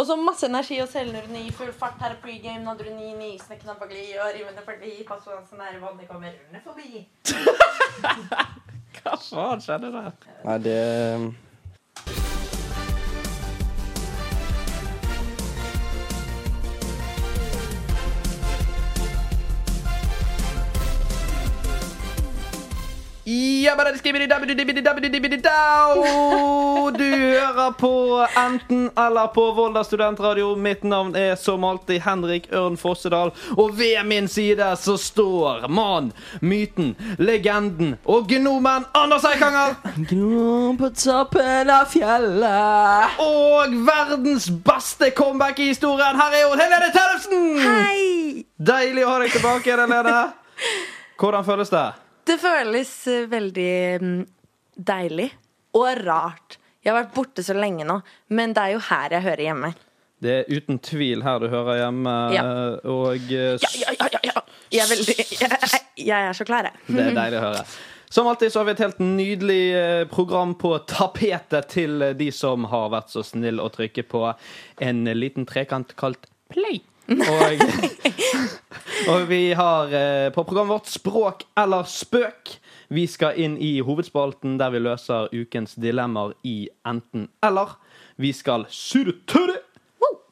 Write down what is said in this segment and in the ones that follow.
Og så masse energi og selvironi, full fart, her er pregame, nadrunin, isene knabagli og rivende parti, pass på dansen er i vannet, kommer rullende forbi. Hva faen skjedde der? Nei, det Jabbadadiskibididabbididibididabbididibididao! Du hører på Enten eller på Volda studentradio. Mitt navn er som alltid Henrik Ørn Fossedal. Og ved min side så står mannen, myten, legenden og gnomen Anders Eikanger! Gnom på toppen av fjellet. Og verdens beste comeback i historien! Her er hun, Helene Tellefsen! Hei! Deilig å ha deg tilbake, Helene. Hvordan føles det? Det føles eh, veldig mm, deilig og rart. Jeg har vært borte så lenge nå, men det er jo her jeg hører hjemme. Det er uten tvil her du hører hjemme, Ja. og eh, Ja, ja, ja, ja, ja. Jeg, er veldig, jeg, jeg er så klar, jeg. Det er deilig å høre. Som alltid så har vi et helt nydelig eh, program på tapetet til eh, de som har vært så snill å trykke på en liten trekant kalt play. Og, og vi har eh, på programmet vårt Språk eller spøk. Vi skal inn i hovedspalten der vi løser ukens dilemmaer i enten-eller. Vi skal surre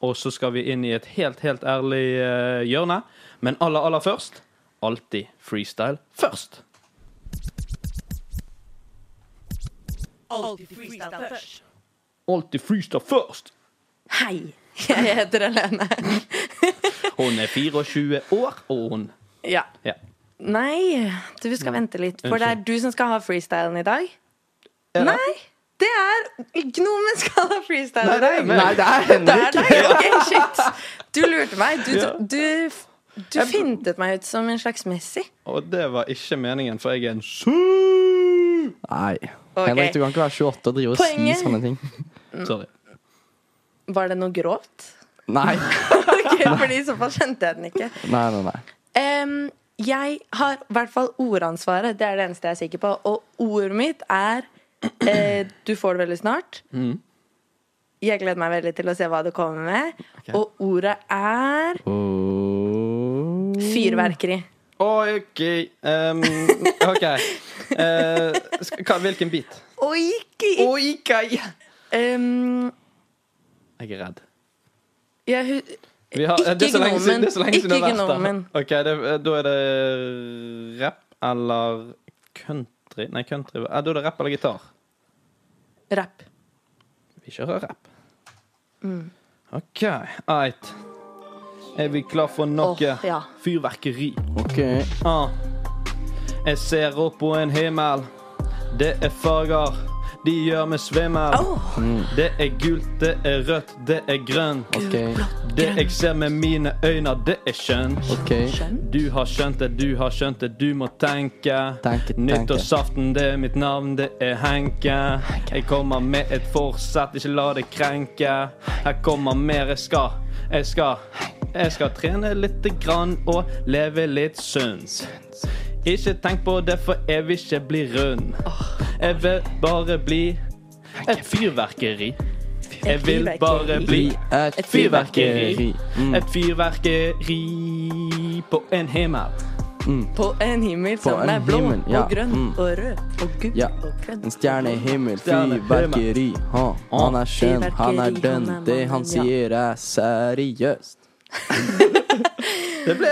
og så skal vi inn i et helt, helt ærlig eh, hjørne. Men aller, aller først alltid freestyle først. Alltid freestyle først. Hei! Jeg heter Helene. Hun er 24 år, og hun Ja. ja. Nei, du skal vente litt, for det er Unnskyld. du som skal ha freestylen i dag. Er det? Nei! Det er Gnomen skal ha freestyle i dag. Nei, det er Det er deg! Ok, shit. Du lurte meg. Du, Ja. du, du fintet meg ut som en slags Messi. Og det var ikke meningen, for jeg er en su... Nei. Ok. Henrik, du kan ikke være 28 og drive og Poenget- si sånne ting. Sorry. Var det noe grovt? Nei. Ok, fordi I så fall skjønte jeg den ikke. Nei, nei, nei. Em, jeg har i hvert fall ordansvaret. Det er det eneste jeg er sikker på. Og ordet mitt er eh, Du får det veldig snart. Mm. Jeg gleder meg veldig til å se hva du kommer med. Og ordet er fyrverkeri. OK. Um, OK. Eh, sk- hva, hvilken bit? Oi! Oi, kai. Em, Jeg er redd. Ehm, jeg, hu- Vi har, Ikke det er så lenge siden- gnomen. det er så lenge siden Ikke det har vært der. gnomen. Ok, det, eh, Da er det rapp eller country Nei, country eh, Da er det rapp eller gitar. rapp. Vi kjører rapp. Mm. OK. Eit. Er vi klar for noe Åh, ja. fyrverkeri? OK. Ah. Jeg ser opp på en himmel. Det er farger. De gjør meg svimmel. Åh, Det er gult, det er rødt, det er grønt. OK. Det jeg ser med mine øyne, det er skjønt. OK. skjønn. Du har skjønt det, du har skjønt det, du må tenke. Tenke, tenke. Nyttårsaften, det er mitt navn, det er Henke. Jeg kommer med et forsett, ikke la det krenke. Her kommer mer, jeg skal, jeg skal. Jeg skal trene lite grann og leve litt sunt. Ikke tenk på det, for jeg vil ikke bli rund. Jeg vil bare bli et fyrverkeri. Jeg vil bare bli Et fyrverkeri. Mm. et fyrverkeri på en himmel. På en himmel som en er blå himmel, ja. og grønn Mm. og rød og gul Ja. og grønn. En stjerne i himmel, Stjerne i fyrverkeri. Ha. Han er skjønn, han er Fyrverkeri, dønn. han er Det mannen, han ja. sier, er seriøst. Det ble,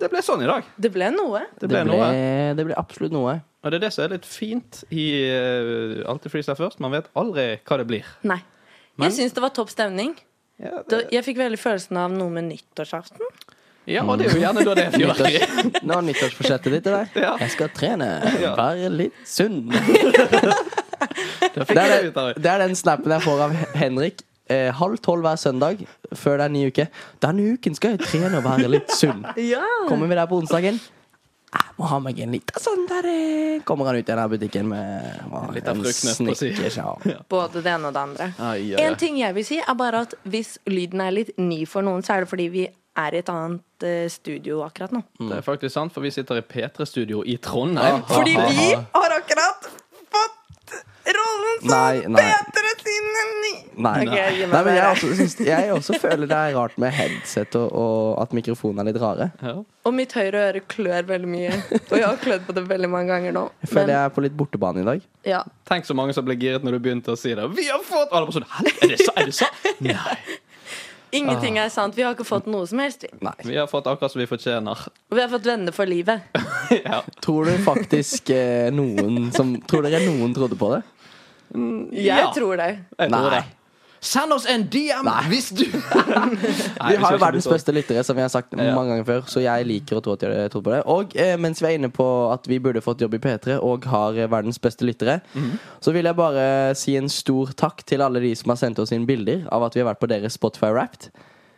det ble sånn i dag. Det ble noe. Det ble, noe. det ble absolutt noe. Og det er det som er litt fint i uh, Alltid freestyle først. Man vet aldri hva det blir. Nei. Men- Jeg syns det var topp stemning. Ja, det, Da- Jeg fikk veldig følelsen av noe med nyttårsaften. ja og det er jo gjerne da det er fyrverkeri. Nyttårs, nå er nyttårsforsettet ditt i dag. Ja. Jeg skal trene, Ja. være litt sunn. Da Det fikk jeg er, det ut av det. det er den snappen jeg får av Henrik. Eh, halv tolv hver søndag før det er ny uke. Denne uken skal jeg trene og være litt sunn. Ja. Kommer vi der på onsdagen? Jeg må ha meg en liten sånn der eh. Kommer han ut igjen av butikken med hva, Litt av fruktnøtt, for å si. Snickers, ja. Både det ene og det andre. Ai, ai, ai. En ting jeg vil si, er bare at hvis lyden er litt ny for noen, så er det fordi vi er i et annet eh, studio akkurat nå. Det er faktisk sant, for vi sitter i P3-studio i Trondheim. Fordi vi har akkurat fått rollen som Nei, nei. sin Nei. Ok, jeg gir meg Nei, men jeg, der. også, syns, jeg også føler det er rart med headset og, og at mikrofonen er litt rare. Ja. Og mitt høyre øre klør veldig mye. Og jeg har klødd på det veldig mange ganger nå. Jeg føler Men jeg er på litt bortebane i dag. ja. Tenk så mange som ble giret når du begynte å si det. Vi har fått Og alle bare sånn Hæ? Er det sant? Er det sant? Nei. Ingenting Ah. er sant. Vi har ikke fått noe som helst. vi. Nei. Vi har fått akkurat som vi fortjener. Og vi har fått venner for livet. ja. Tror du faktisk eh, noen som Tror dere noen trodde på det? Jeg Ja. tror det. Jeg tror Nei. det. Send oss en DM Nei. hvis du Nei, Vi har skal jo verdens ikke bli sånn. beste lyttere, som vi har sagt Ja. mange ganger før. Så jeg liker å tro at jeg trodde på det. Og eh, mens vi er inne på at vi burde fått jobb i P3 og har eh, verdens beste lyttere, Mhm. så vil jeg bare si en stor takk til alle de som har sendt oss inn bilder av at vi har vært på deres Spotify Wrapped.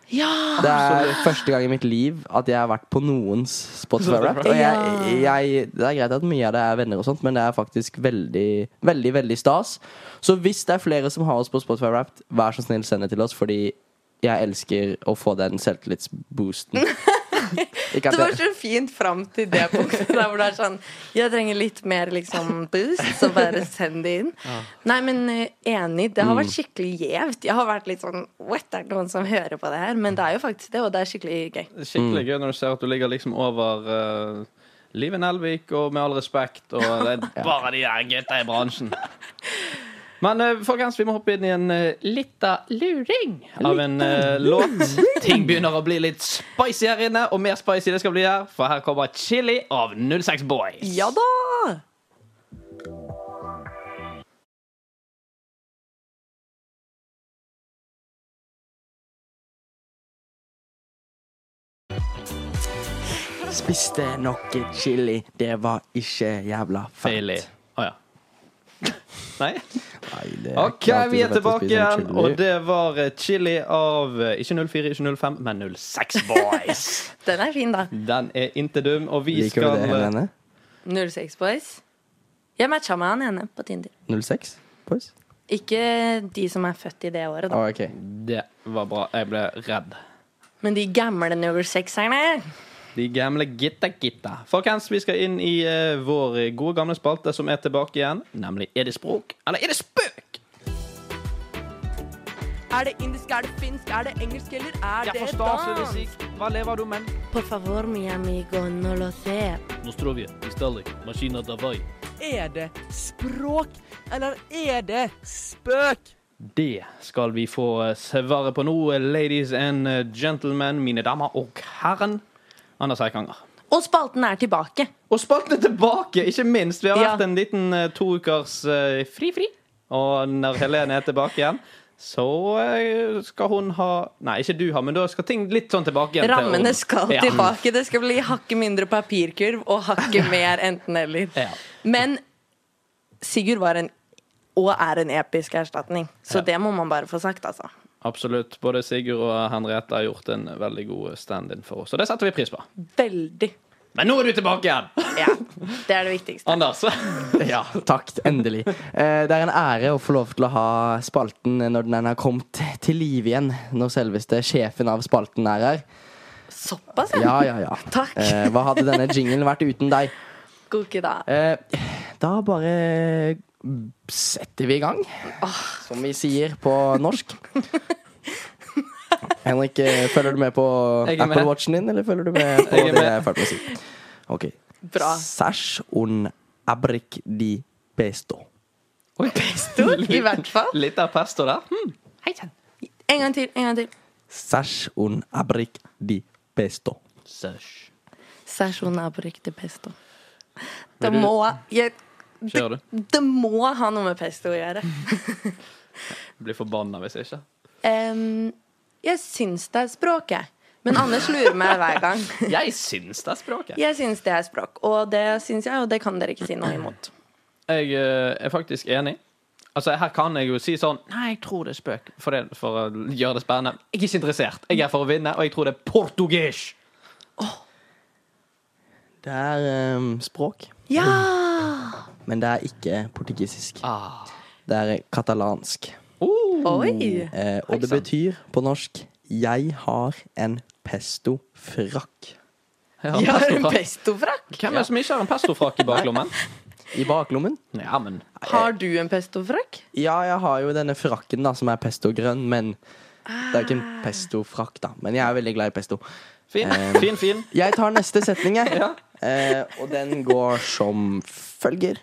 Ja! Det er første gang i mitt liv at jeg har vært på noens Spotify Wrapped. Og jeg, jeg, det er greit at mye av det er venner og sånt, men det er faktisk veldig, veldig, veldig stas. Så hvis det er flere som har oss på Spotify Wrapped, vær så snill send det til oss, fordi jeg elsker å få den selvtillitsboosten. Ikke Det var at det, så fint fram til det punktet der hvor det er sånn Jeg trenger litt mer liksom boost, så bare send det inn. Nei, men eh, enig. Det har vært Mm. skikkelig gjevt. Jeg har vært litt sånn What, er det noen som hører på det her? Men det er jo faktisk det, og det er skikkelig gøy. Skikkelig Mm. gøy når du ser at du ligger liksom over uh, Live Nelvik og Med all respekt og det er bare de der gutta i bransjen. Men eh, folkens, vi må hoppe inn i en uh, lita luring av en eh, låt. Ting begynner å bli litt spicy her inne, og mer spicy det skal bli her, for her kommer Chili av 06 Boys. Ja da! spiste noe chili, det var ikke jævla Bailey. fett. Å ja. Nei? Nei, Eh, det er OK, ikke alltid vi er så fett å tilbake spise igjen, chili. og det var eh, chili av eh, ikke 04, ikke 05, men 06 Boys. Den er fin, da. Den er inte dum, og vi Liker skal du det, Helene? 06 Boys. Jeg matcha med han ene på Tinder. 06? Boys? Ikke de som er født i det året, da. Å, ok. eh, Det var bra. Jeg ble redd. Men de gamle 06-erne. De gamle gitta-gitta. Folkens, vi skal inn i eh, vår gode gamle spalte som er tilbake igjen. Nemlig Er det språk, eller er det spøk? Er det indisk, er det finsk, er det engelsk, eller er Jeg forstår ikke musikk. Hva lever du med? Por favor, mi amigo, no lo sé. Nostrovje, Istalik, Maskina Davai. Er det språk, eller er det spøk? Det skal vi få eh, svaret på nå, ladies and eh, gentlemen, mine damer og herren. Anders Eikanger. Og spalten er tilbake. Og spalten er tilbake, ikke minst. Vi har Ja. vært en liten eh, to ukers eh, fri-fri. Og når Helene er tilbake igjen, så eh, skal hun ha Nei, ikke du ha, men da skal ting litt sånn tilbake igjen. til Rammene orden. skal Ja. tilbake. Det skal bli hakket mindre papirkurv og hakket mer enten-eller. Ja. Men Sigurd var en og er en episk erstatning. Så Ja. det må man bare få sagt, altså. Mm. Absolutt. Både Sigurd og Henriette har gjort en veldig god stand-in for oss, og det setter vi pris på. Veldig. Men nå er du tilbake igjen! Ja. Det er det viktigste. Anders. Ja, takk. Endelig. Eh, Det er en ære å få lov til å ha spalten når den har kommet til live igjen. Når selveste sjefen av spalten er her. Såpass, ja. Ja, ja, ja. Takk. Eh, Hva hadde denne jinglen vært uten deg? God ikke da. Eh, Da bare setter vi i gang. Ah. Som vi sier på norsk. Henrik, eh, følger du med på Jeg er med. Apple Watchen din, eller følger du med på Jeg er det med. jeg er ferdig med å si? Ok. Bra. Sash un abrik di pesto. Oi. I hvert fall. Litt av pesto der. Hm. En gang til. En gang til. Sash un abrik di pesto. Søsj. Sasjona på riktig pesto. Det Vil du- må jeg, Kjør du. Det må ha noe med pesto å gjøre. Blir forbanna hvis ikke. Em, jeg syns det er språk, jeg. Men Anders lurer meg hver gang. Jeg syns det er språket. Jeg syns det er språk, og det syns jeg, og det kan dere ikke si noe imot. Jeg eh, er faktisk enig. Altså, Her kan jeg jo si sånn Nei, jeg tror det er spøk. For, det, for å gjøre det spennende. Jeg er ikke interessert. Jeg er for å vinne, og jeg tror det er portugis. Det er eh, språk, Ja! men det er ikke portugisisk. Ah. Det er katalansk. Uh, Oi! Eh, og det Heisann. betyr på norsk 'jeg har en pesto-frakk'. jeg har Jeg har en pestofrakk. altså, pestofrakk! Hvem er det som ikke har en pestofrakk i baklommen? I baklommen. Ja, men Har du en pestofrakk? Ja, jeg har jo denne frakken da, som er pestogrønn, men det er ikke en pestofrakk, da. Men jeg er veldig glad i pesto. fin, Eh, fin, fin. Jeg tar neste setning, jeg. Eh, og den går som følger.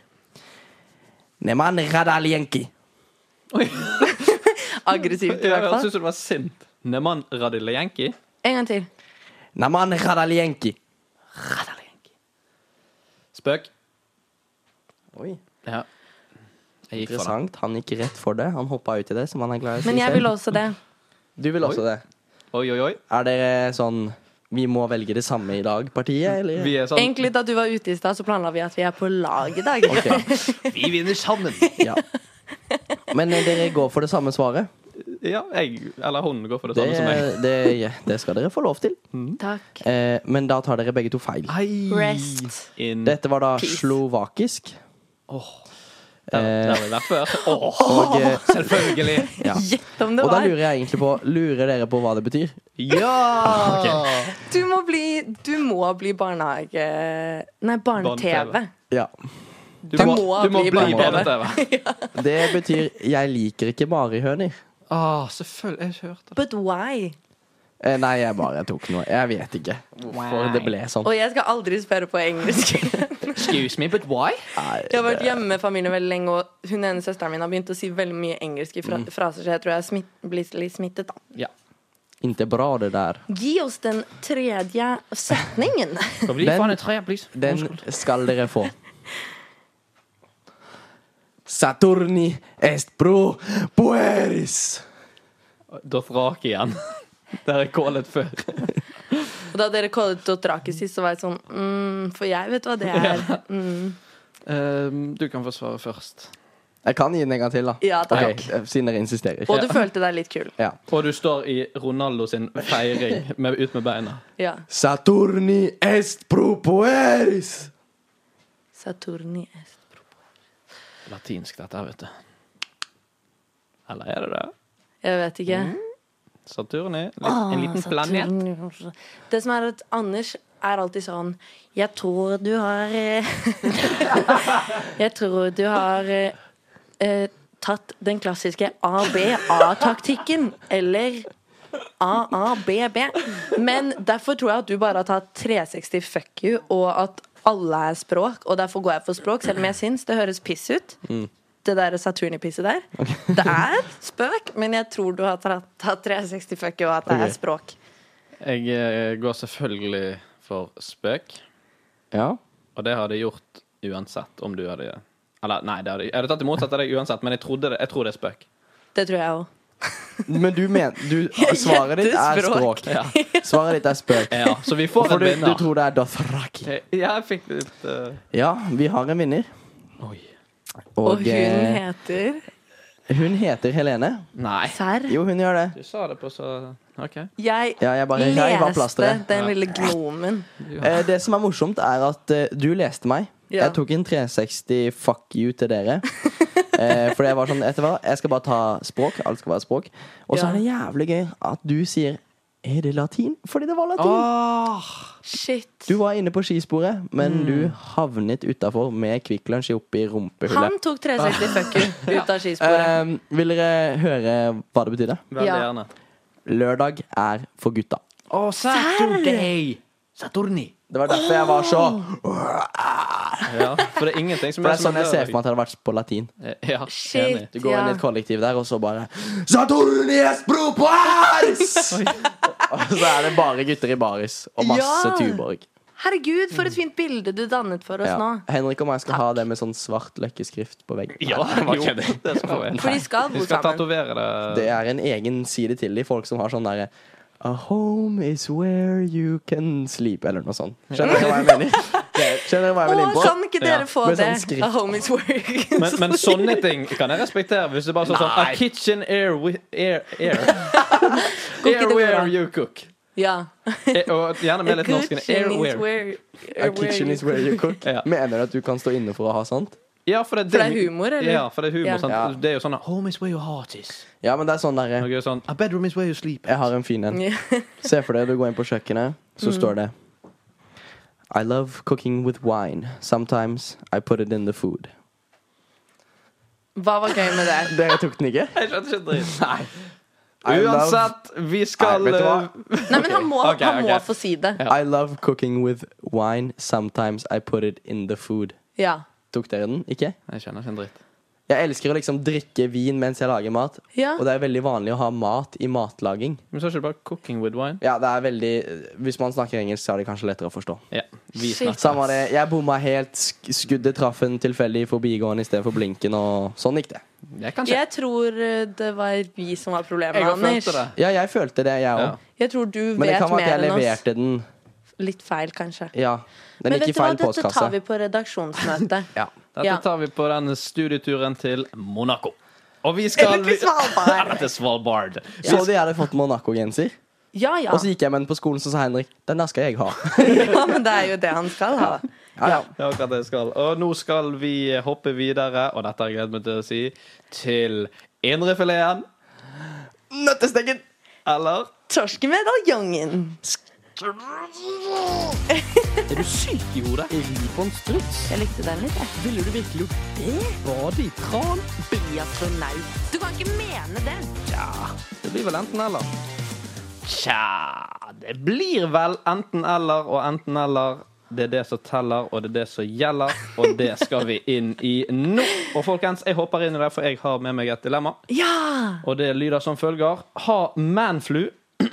Neman Radalienki. Aggressivt, i Ja, hvert Jeg altså, fall. syns du var sint. Neman Radilajenki. En gang til. Neman Radalienki. Spøk. Oi, Ja. Jeg gikk for det. interessant. Han gikk rett for det. Han hoppa ut i det, som han er glad i å si Men jeg selv. vil også det. Du vil også det. Oi, oi, oi. Er dere sånn Vi må velge det samme i dag, partiet, eller? Vi er sånn Egentlig da du var ute i stad, så planla vi at vi er på lag i dag. Ok, Vi vinner sammen! ja. Men eh, dere går for det samme svaret. Ja, jeg eller hun går for det Det, samme som meg. det, det skal dere få lov til. Takk. Eh, men da tar dere begge to feil. Rest. In Dette var da Peace. slovakisk. Eh, Der, der vi var før. Åh, Og, eh, selvfølgelig! ja. Gjett om det og da var. lurer jeg egentlig på Lurer dere på hva det betyr? Ja! Du må bli, du må bli barnehage... Nei, barne-TV. Barne-TV. Ja. Du Du må, må du må bli bli barnehage. barne-TV. Det betyr 'jeg liker ikke marihøner'. Ah, selvfølgelig. Jeg har ikke hørt det. But why? Eh, nei, jeg bare tok noe. Jeg vet ikke hvorfor det ble sånn. Og jeg skal aldri spørre på engelsk. Excuse me, but why? Jeg har vært hjemme med familien veldig lenge, og hun ene søsteren min har begynt å si veldig mye engelske Mm. fra fraser, så jeg tror jeg er smitt, blitt litt smittet, da. Ja. Inte bra, det der. Gi oss den tredje setningen. Kan vi Den- faen et tre, please? Den skal dere få. Saturni est pro pueris. Dothraki igjen. Der jeg kålet før. Og da dere kallet Dothraki sist, så var jeg sånn mm, For jeg vet hva det er. Mm. Ehm, du kan få svare først. Jeg kan gi den en gang til, da. Ja, takk. Ok, eh, Siden dere insisterer. Og du følte deg litt kul. Ja. Og du står i Ronaldo sin feiring med, ut med beina. Ja. Saturni est pro pueris. Saturni est Latinsk, dette her, vet du. Eller er det det? Jeg vet ikke. Ah, Saturni? Litt, Mm. en liten planet? planet. Det som er at Anders er alltid sånn Jeg tror du har eh, Jeg tror du har eh, eh, tatt den klassiske ABA-taktikken. Eller AABB. Men derfor tror jeg at du bare har tatt 360 fuck you, og at alle er språk, og derfor går jeg for språk, selv om jeg syns det høres piss ut. Mm. Det der Saturni-pisset der. Det er spøk, men jeg tror du har tatt, tatt 360 fuck you, og at det Ok. er språk. Jeg eh, går selvfølgelig for spøk, Ja. og det hadde jeg gjort uansett om du hadde Eller nei, det hadde, jeg hadde tatt det motsatte av deg uansett, men jeg, trodde det, jeg tror det er spøk. Det tror jeg òg. Men du mener du, Svaret ditt er Gjettespråk. språk. Svaret ditt er spøk. Ja, så vi får For en du, du vinner. tror det er Dothraki. Eh, Ja, jeg fikk litt eh, Ja, vi har en vinner. Oi. Og, Og hun eh, heter hun heter Helene. Nei. Serr. Jo, hun gjør det. Du sa det på så OK. Jeg, Ja, jeg bare- jeg var leste plasteret. den lille gnomen. Eh, det som er morsomt, er at eh, du leste meg. Ja. Jeg tok en 360 fuck you til dere. eh, fordi jeg var sånn Etter hva? Jeg skal bare ta språk. Alt skal være språk. Og Ja. så er det jævlig gøy at du sier Er det latin? Fordi det var latin. Ah. Shit. Du var inne på skisporet, men du havnet utafor med Kvikk Lunsj oppi rumpehullet. Han tok 360 fuck you ut av skisporet. Eh, vil dere høre hva det betydde? Veldig Ja. gjerne. Lørdag er for gutta. Oh, Saturday! Saturni. Det var derfor jeg var så Ja, for det er ingenting som For det er sånn jeg ser for meg at det hadde vært på latin. meg. Ja, Shit. enig. Du går Ja. inn i et kollektiv der, og så bare Saturni est pro Paris! og så er det bare gutter i baris, og masse Ja. Tuborg. Herregud, for et fint bilde du dannet for oss Ja. nå. Henrik og meg skal ha det med sånn svart løkkeskrift på veggen. Ja, jo, det skal vi. For de skal Vi bo skal sammen. tatovere det. Det er en egen side til de folk som har sånn derre A home is where you can sleep, eller noe sånt. Skjønner dere hva jeg mener? Skjønner dere hva jeg vil inn Å, på? kan ikke dere Ja, få med det? sånn skrift. A homies work. Men, men sånne ting kan jeg respektere. Hvis det bare står sånn A kitchen air wi- air Air, air det where bra? you cook. Ja. Eh, Og gjerne med litt A norsk. kitchen is Airware. where- A kitchen is where you cook. Ja. Mener du at du kan stå inne for å ha sånt? Ja, for det, For det er humor, eller? Ja, for det er humor, Ja. sant? Ja. Det er jo sånn Home is where your heart is. Ja, men det er sånn derre Og det er sånn, A bedroom is where you sleep. Jeg har en fin en. Ja. Mm. Se for deg du går inn på kjøkkenet, så står det I love cooking with wine. Sometimes I put it in the food. Hva var gøy med det? Dere tok den ikke? Jeg skjønte ikke dritt. Nei. I love, Uansett, vi skal Nei, vet du hva? eh, Nei, men han må, Ok, han må ok. få si det. Ja. I love cooking with wine. Sometimes I put it in the food. Ja. Tok dere den? Ikke? Jeg skjønner ikke en dritt. Jeg elsker å liksom drikke vin mens jeg lager mat. Ja. Og det er veldig vanlig å ha mat i matlaging. Men så er det ikke bare 'cooking with wine'? Ja, det er veldig Hvis man snakker engelsk, så er det kanskje lettere å forstå. Ja, vi Shit. snakker. Samme det, Jeg bomma helt. sk- Skuddet traff en tilfeldig forbigående istedenfor blinken, og sånn gikk det. Det kan skje. Jeg tror eh, det var vi som var problemet, Jeg har Anders. følt det. Ja, jeg følte det, jeg òg. Ja. Jeg tror du Men det vet kan være mer at jeg enn oss. leverte den. Litt feil, kanskje. Ja. Den Men gikk vet i du hva, feil dette postkasse. tar vi på redaksjonsmøtet. Ja. Dette Ja. tar vi på denne studieturen til Monaco. Og vi skal Eller til Svalbard. Eller til Svalbard. Så de hadde fått Monaco-genser, Ja ja. og så gikk jeg med den på skolen, så sa Henrik den der skal jeg ha. ja, men det er jo det han skal ha. Ja, ja. Det er akkurat det jeg skal. Og nå skal vi hoppe videre, og dette har jeg gledet meg til å si, til indrefileten. Nøttesteken! Eller Torskemedaljongen. Er du syk i hodet? Ri på en struts? Jeg likte den litt, jeg. Ville du virkelig gjort det? Bade i tran? Bli astronaut. Du kan ikke mene det. Det blir vel enten-eller. Tja Det blir vel enten-eller og enten-eller. Det er det som teller, og det er det som gjelder, og det skal vi inn i nå. Og folkens, jeg hopper inn i det, for jeg har med meg et dilemma. Ja! Og det lyder som følger. Ha manflu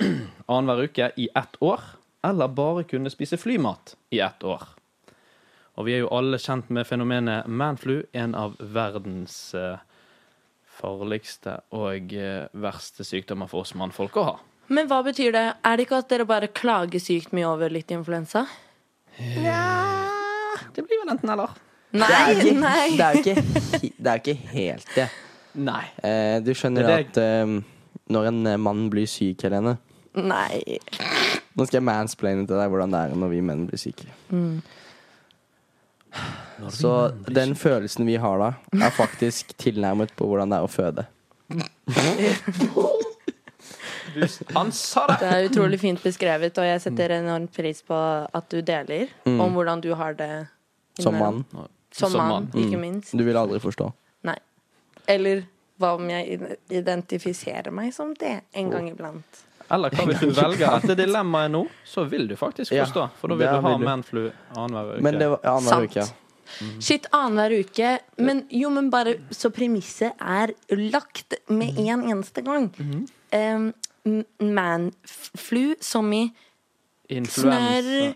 annenhver uke i ett år, eller bare kunne spise flymat i ett år. Og vi er jo alle kjent med fenomenet manflu, en av verdens eh, farligste og eh, verste sykdommer for oss mannfolk å ha. Men hva betyr det? Er det ikke at dere bare klager sykt mye over litt influensa? Det blir vel enten eller. Det er Nei, jo ikke, nei. det er jo ikke, he- det er jo ikke helt det. Nei. Eh, du skjønner Det er det- at eh, når en eh, mann blir syk, Helene Nei. Nå skal jeg mansplaine til deg hvordan det er når vi menn blir syke. Mm. Så den følelsen vi har da, er faktisk tilnærmet på hvordan det er å føde. Du, han sa det! Det er utrolig fint beskrevet, og jeg setter Mm. enormt pris på at du deler om hvordan du har det. Som innimellom. mann. Mm. Som mann, ikke minst. Du vil aldri forstå. Nei. Eller hva om jeg ide- identifiserer meg som det en gang iblant? Eller hva hvis du velger dette dilemmaet nå, så vil du faktisk Ja, forstå. For da vil det du ha vil du. manflu annenhver uke. Men det var ja, annenhver Sant. uke. Shit, annenhver uke. Men jo, men bare så premisset er lagt med en eneste gang. Um, m- Manflu som i Influensa.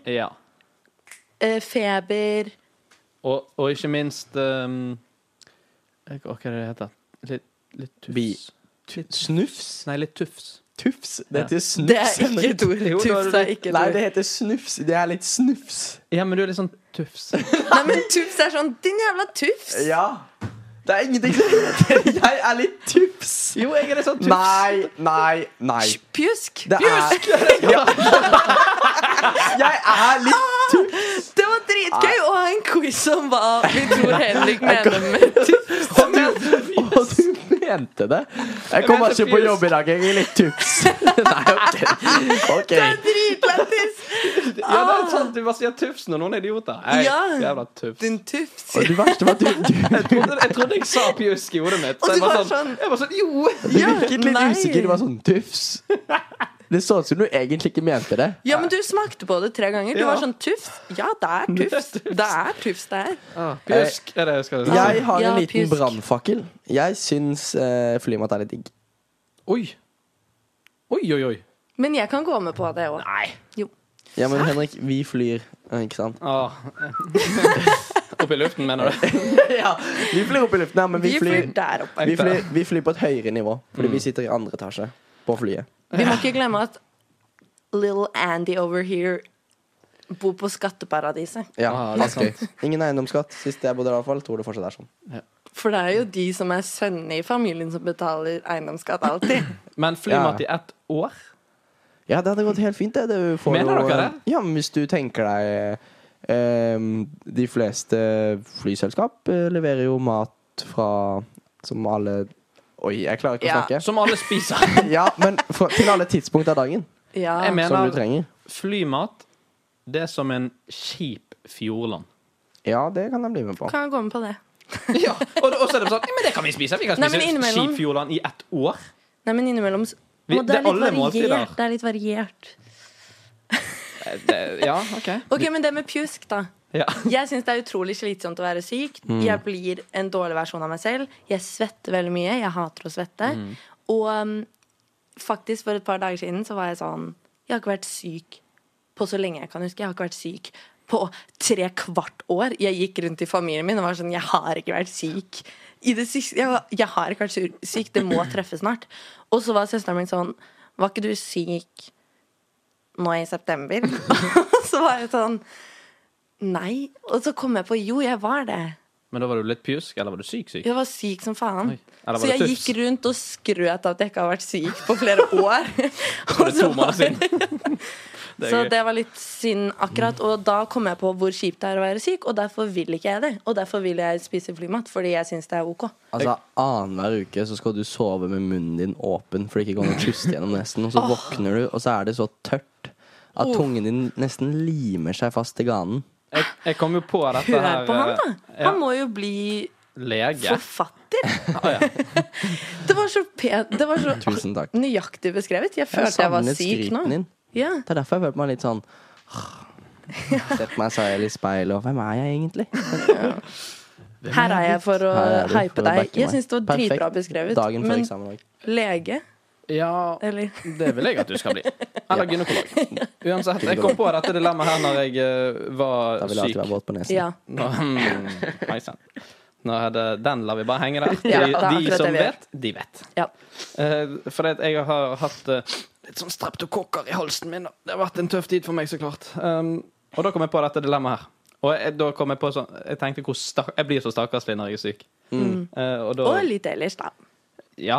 Snørr. Ja. eh, feber Og, og ikke minst um, jeg- Hva er det det heter? Litt, litt tufs. Bi- Snufs? Nei, litt tufs. Tufs? Det heter snufs. Det er ikke et ord. Jo, da er det- Tufs er ikke et Nei, ord. det heter snufs. Det er litt snufs. Ja, men du er litt sånn tufs. Nei, men tufs er sånn Din jævla tufs! Ja. Det er ingenting som heter Jeg er litt tufs. Jo, jeg er litt sånn tufs. Nei, nei, nei. Pjusk! Det er ja. Jeg er litt tufs. Det var dritgøy å ha en quiz om hva vi tror Henrik mener med Han er tufs. Og du mente det? altså, Jeg kommer mente ikke på pjusk. jobb i dag. Jeg er litt tufs. Nei, OK. Ok. Dritlættis! Ja, det er sant. Du bare sier tufs når noen er idioter. Nei, Ja. Jævla tufs. Din tufs. Og det verste var at du, du, Jeg trodde, jeg trodde jeg sa pjusk i hodet mitt. Og Så jeg du var var sånn, sånn- jeg var sånn Jo! du virket litt nei. usikker. Du var sånn tufs. Det så ut som du egentlig ikke mente det. Ja, men du smakte på det tre ganger. Du Ja. var sånn tufs. Ja, det er tufs. Det er tufs det er. Ah, pjusk er det jeg skal si. Jeg har Ja, en liten pjusk. brannfakkel. Jeg syns eh, flymat er litt digg. Oi. Oi, oi, oi. Men jeg kan gå med på det òg. Nei. Ja, men Henrik, vi flyr, eh, ikke sant? Ah. Opp i luften, mener du? Ja, Vi flyr opp i luften, ja, men vi Vi flyr flyr der oppe. Vi flyr, Mm. vi flyr på et høyere nivå, fordi vi sitter i andre etasje på flyet. Vi må ikke glemme at little Andy over here bor på skatteparadiset. Ja, Ah, det er Askøy. Ingen eiendomsskatt. Sist jeg bodde der, i hvert fall. Tror det fortsatt er sånn. For det er jo de som er sønnene i familien som betaler eiendomsskatt alltid. Men flymat i ett år? Ja, det hadde gått helt fint, det. det får Mener jo- dere det? Ja, men hvis du tenker deg eh, De fleste flyselskap eh, leverer jo mat fra Som alle Oi, jeg klarer ikke å Ja. snakke. Som alle spiser. Ja, men fra, til alle tidspunkt av dagen Ja. Jeg mener- som du trenger. Flymat det er som en kjip fjordland. Ja, det kan jeg bli med på. Kan jeg gå med på det? Ja, og, og så er det sånn Men det kan vi spise! Vi kan Nei, spise men innimellom- kjip fjordland i ett år. Nei, men innimellom s- Vi- Må- det er alle måltider. variert. Det er litt variert. ja, OK. Ok, men det med pjusk, da. Ja. Jeg syns det er utrolig slitsomt å være syk. Jeg blir en dårlig versjon av meg selv. Jeg svetter veldig mye. Jeg hater å svette. Og um, faktisk, for et par dager siden så var jeg sånn Jeg har ikke vært syk på så lenge jeg kan huske. Jeg har ikke vært syk på tre kvart år. Jeg gikk rundt i familien min og var sånn Jeg har ikke vært syk. I det siste, jeg, var- jeg har ikke vært sur- syk. Det må treffe snart. Og så var søsteren min sånn Var ikke du syk nå i september? Og så var jeg sånn Nei. Og så kom jeg på jo, jeg var det. Men da var du litt pjusk, eller var du syk syk? Jeg var syk som faen. Oi. Eller var Så det jeg tufs? gikk rundt og skrøt av at jeg ikke har vært syk på flere år. For det er Og så to måneder siden. Det er så gøy. det var litt synd akkurat. Og da kom jeg på hvor kjipt det er å være syk, og derfor vil ikke jeg det. Og derfor vil jeg spise flymat, fordi jeg syns det er OK. Altså, Annenhver uke så skal du sove med munnen din åpen, for det ikke går an å puste gjennom nesten. Og så våkner du, og så er det så tørt at tungen din nesten limer seg fast til ganen. Jeg, jeg kom jo på dette Hør her på han, da! eh, ja, Han må jo bli Lege. forfatter. Ah, ja. Det var så pent. Det var så Tusen takk. nøyaktig beskrevet. Jeg Jeg følte jeg var savnet syk nå. skryten din. Ja. Det er derfor jeg følte meg litt sånn Sett meg selv i speilet, og hvem er jeg egentlig? Her er jeg for å Her er du, hype for å deg. backe meg. Jeg syns det var dritbra Perfekt. beskrevet. Dagen før Men eksamen òg. lege, Ja, eller det vil jeg at du skal bli. Eller gynekolog. Uansett, jeg kom Gynekolog. på dette dilemmaet her når jeg eh, var Da vil jeg alltid være syk. våt på nesen. Ja. Nå, mm, nei, sant. Nå er det, den lar vi bare henge der. De, Ja, det er akkurat de som det vi gjør. vet, de vet. ja. Eh, for det, at jeg har hatt eh, litt sånn streptokokker i halsen min. og Det har vært en tøff tid for meg, så klart. Um, og da kom jeg på dette dilemmaet her. Og jeg, da kom jeg på sånn Jeg tenkte hvor stak Jeg blir så stakkarslig når jeg er syk. Eh, og da Og litt ellers, da. Ja.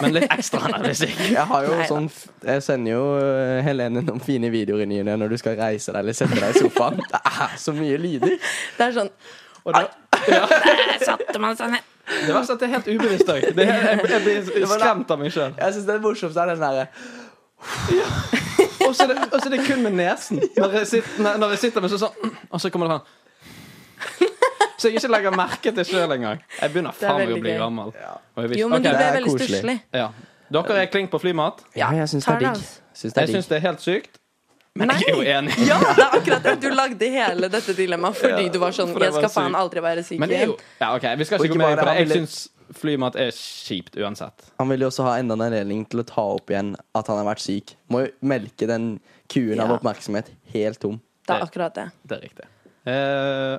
Men litt ekstra når jeg er syk. Jeg har jo Nei da. sånn f- Jeg sender jo eh, Helene noen fine videoer i ny og ne når du skal reise deg eller sette deg i sofaen. Det er så mye lyder. Det er sånn Og da, Der satte man seg ned. det verste er at det er helt ubevisst òg. Jeg, jeg blir skremt av meg sjøl. Jeg syns det morsomste er den derre Og så er det, og så er det kun med nesen. Når jeg sitter, når- når jeg sitter med så sånn Og så kommer det sånn Så jeg ikke legger merke til sjøl engang. Jeg begynner Det er faen meg å veldig bli gøy. gammel. Og jeg visste- Jo, men ok, du det ble er veldig koselig. stusslig. ja. Dere er klink på flymat. Ja, jeg syns det Ta er det, digg. altså. Syns Jeg det er digg. syns det er helt sykt. Men jeg er jo Nei. enig. Ja, det er akkurat det. Du lagde hele dette dilemmaet fordi du var sånn for jeg Jeg var skal faen syk. aldri være syk Men det er igjen. jo Ja, OK, vi skal Og ikke gå ikke mer inn på bare det. Jeg det, han syns flymat er kjipt uansett. Han vil jo også ha enda en anledning til å ta opp igjen at han har vært syk. Må jo melke den kuen av Ja. oppmerksomhet helt tom. Det er akkurat det. Det er riktig. Eh,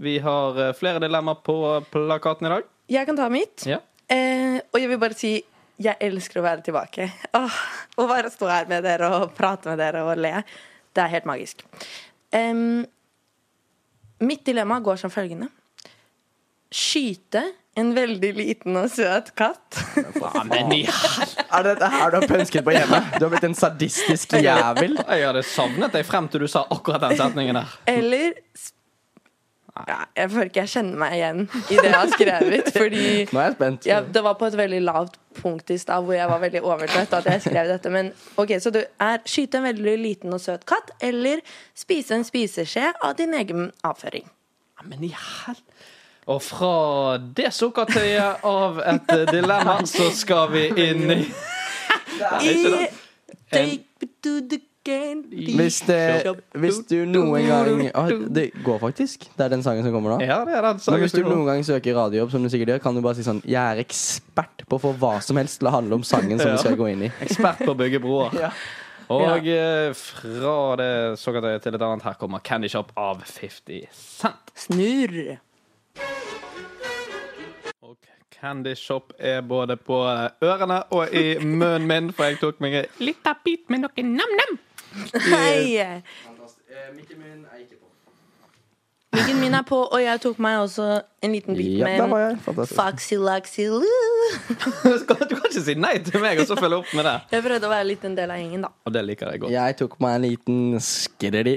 vi har eh, flere dilemmaer på plakaten i dag. Jeg kan ta mitt. Ja. Eh, og jeg vil bare si jeg elsker å være tilbake. Åh, å bare stå her med dere og prate med dere og le. Det er helt magisk. Em, mitt dilemma går som følgende. Skyte en veldig liten og søt katt. Faen, men i hel- Er det dette her du har pønsket på hjemme? Du har blitt en sadistisk jævel. Jeg hadde savnet deg frem til du sa akkurat den setningen der. Eller sp- ja, Jeg føler ikke jeg kjenner meg igjen i det jeg har skrevet. Fordi Nå er jeg spent. Ja, det var på et veldig lavt punkt i stad hvor jeg var veldig overtrøtt at jeg skrev dette. Men ok, så du er skyte en veldig liten og søt katt, eller spise en spiseskje av din egen avføring. Ja, Men i hel... Og fra det sukkertøyet av et eh, dilemma, så skal vi inn i I En- take me to the candy Hvis, det, shop. hvis du noen gang Å, Det går faktisk. Det er den sangen som kommer nå. Ja, det er den Men sangen hvis du som går. noen gang søker radiojobb, som du sikkert gjør, kan du bare si sånn Jeg er ekspert på å få hva som helst til å handle om sangen som Ja. vi skal gå inn i. Ekspert på å bygge broer. Og eh, fra det sukkertøyet til et annet, her kommer Candy Shop av 50 Cent. Snurr. Og Candy Shop er både på eh, ørene og i munnen min, for jeg tok meg en lita bit med noe nam-nam. Hei! Mikken min er på, og jeg tok meg også en liten bit Ja, der var med jeg. Fantastisk. Foxy-laxy-loo. Du kan du kan ikke si nei til meg og så følge opp med det. Jeg prøvde å være litt en del av gjengen, da. Og det liker jeg godt. Jeg tok meg en liten skredi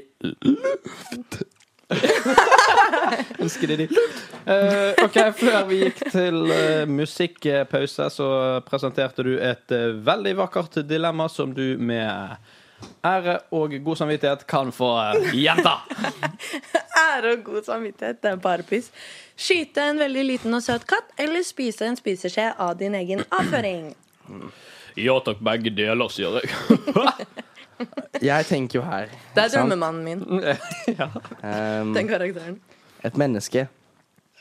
Ønsker de Eh, ok, Før vi gikk til eh, musikkpause, så presenterte du et eh, veldig vakkert dilemma som du med Ære og god samvittighet kan få eh, gjenta. Ære og god samvittighet, det er bare piss. Skyte en veldig liten og søt katt, eller spise en spiseskje av din egen avføring. Ja takk, begge deler, sier jeg. Jeg tenker jo her Det er sant? drømmemannen min, ja. ehm, den karakteren. Et menneske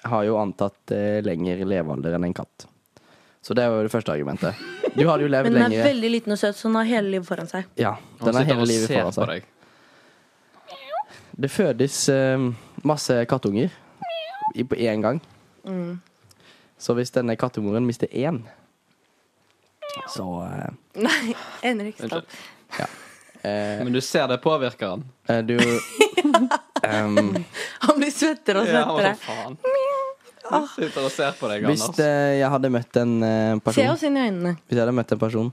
har jo antatt eh, lengre levealder enn en katt. Så det er jo det første argumentet. Du hadde jo levd Men den er lenger. veldig liten og søt, så den har hele livet foran seg. Ja, Han den har sitter hele og livet ser foran på seg. deg. Det fødes eh, masse kattunger i, på én gang. Mm. Så hvis denne kattemoren mister én, så eh, Nei, en riksdag. eh, Men du ser det påvirker han. eh, Du em, Han blir svettere og Ja, og så svettere. faen. Han sitter og ser på deg, Hvis Anders. eh, jeg hadde møtt en eh, Se person oss inn i øynene. Hvis jeg hadde møtt en person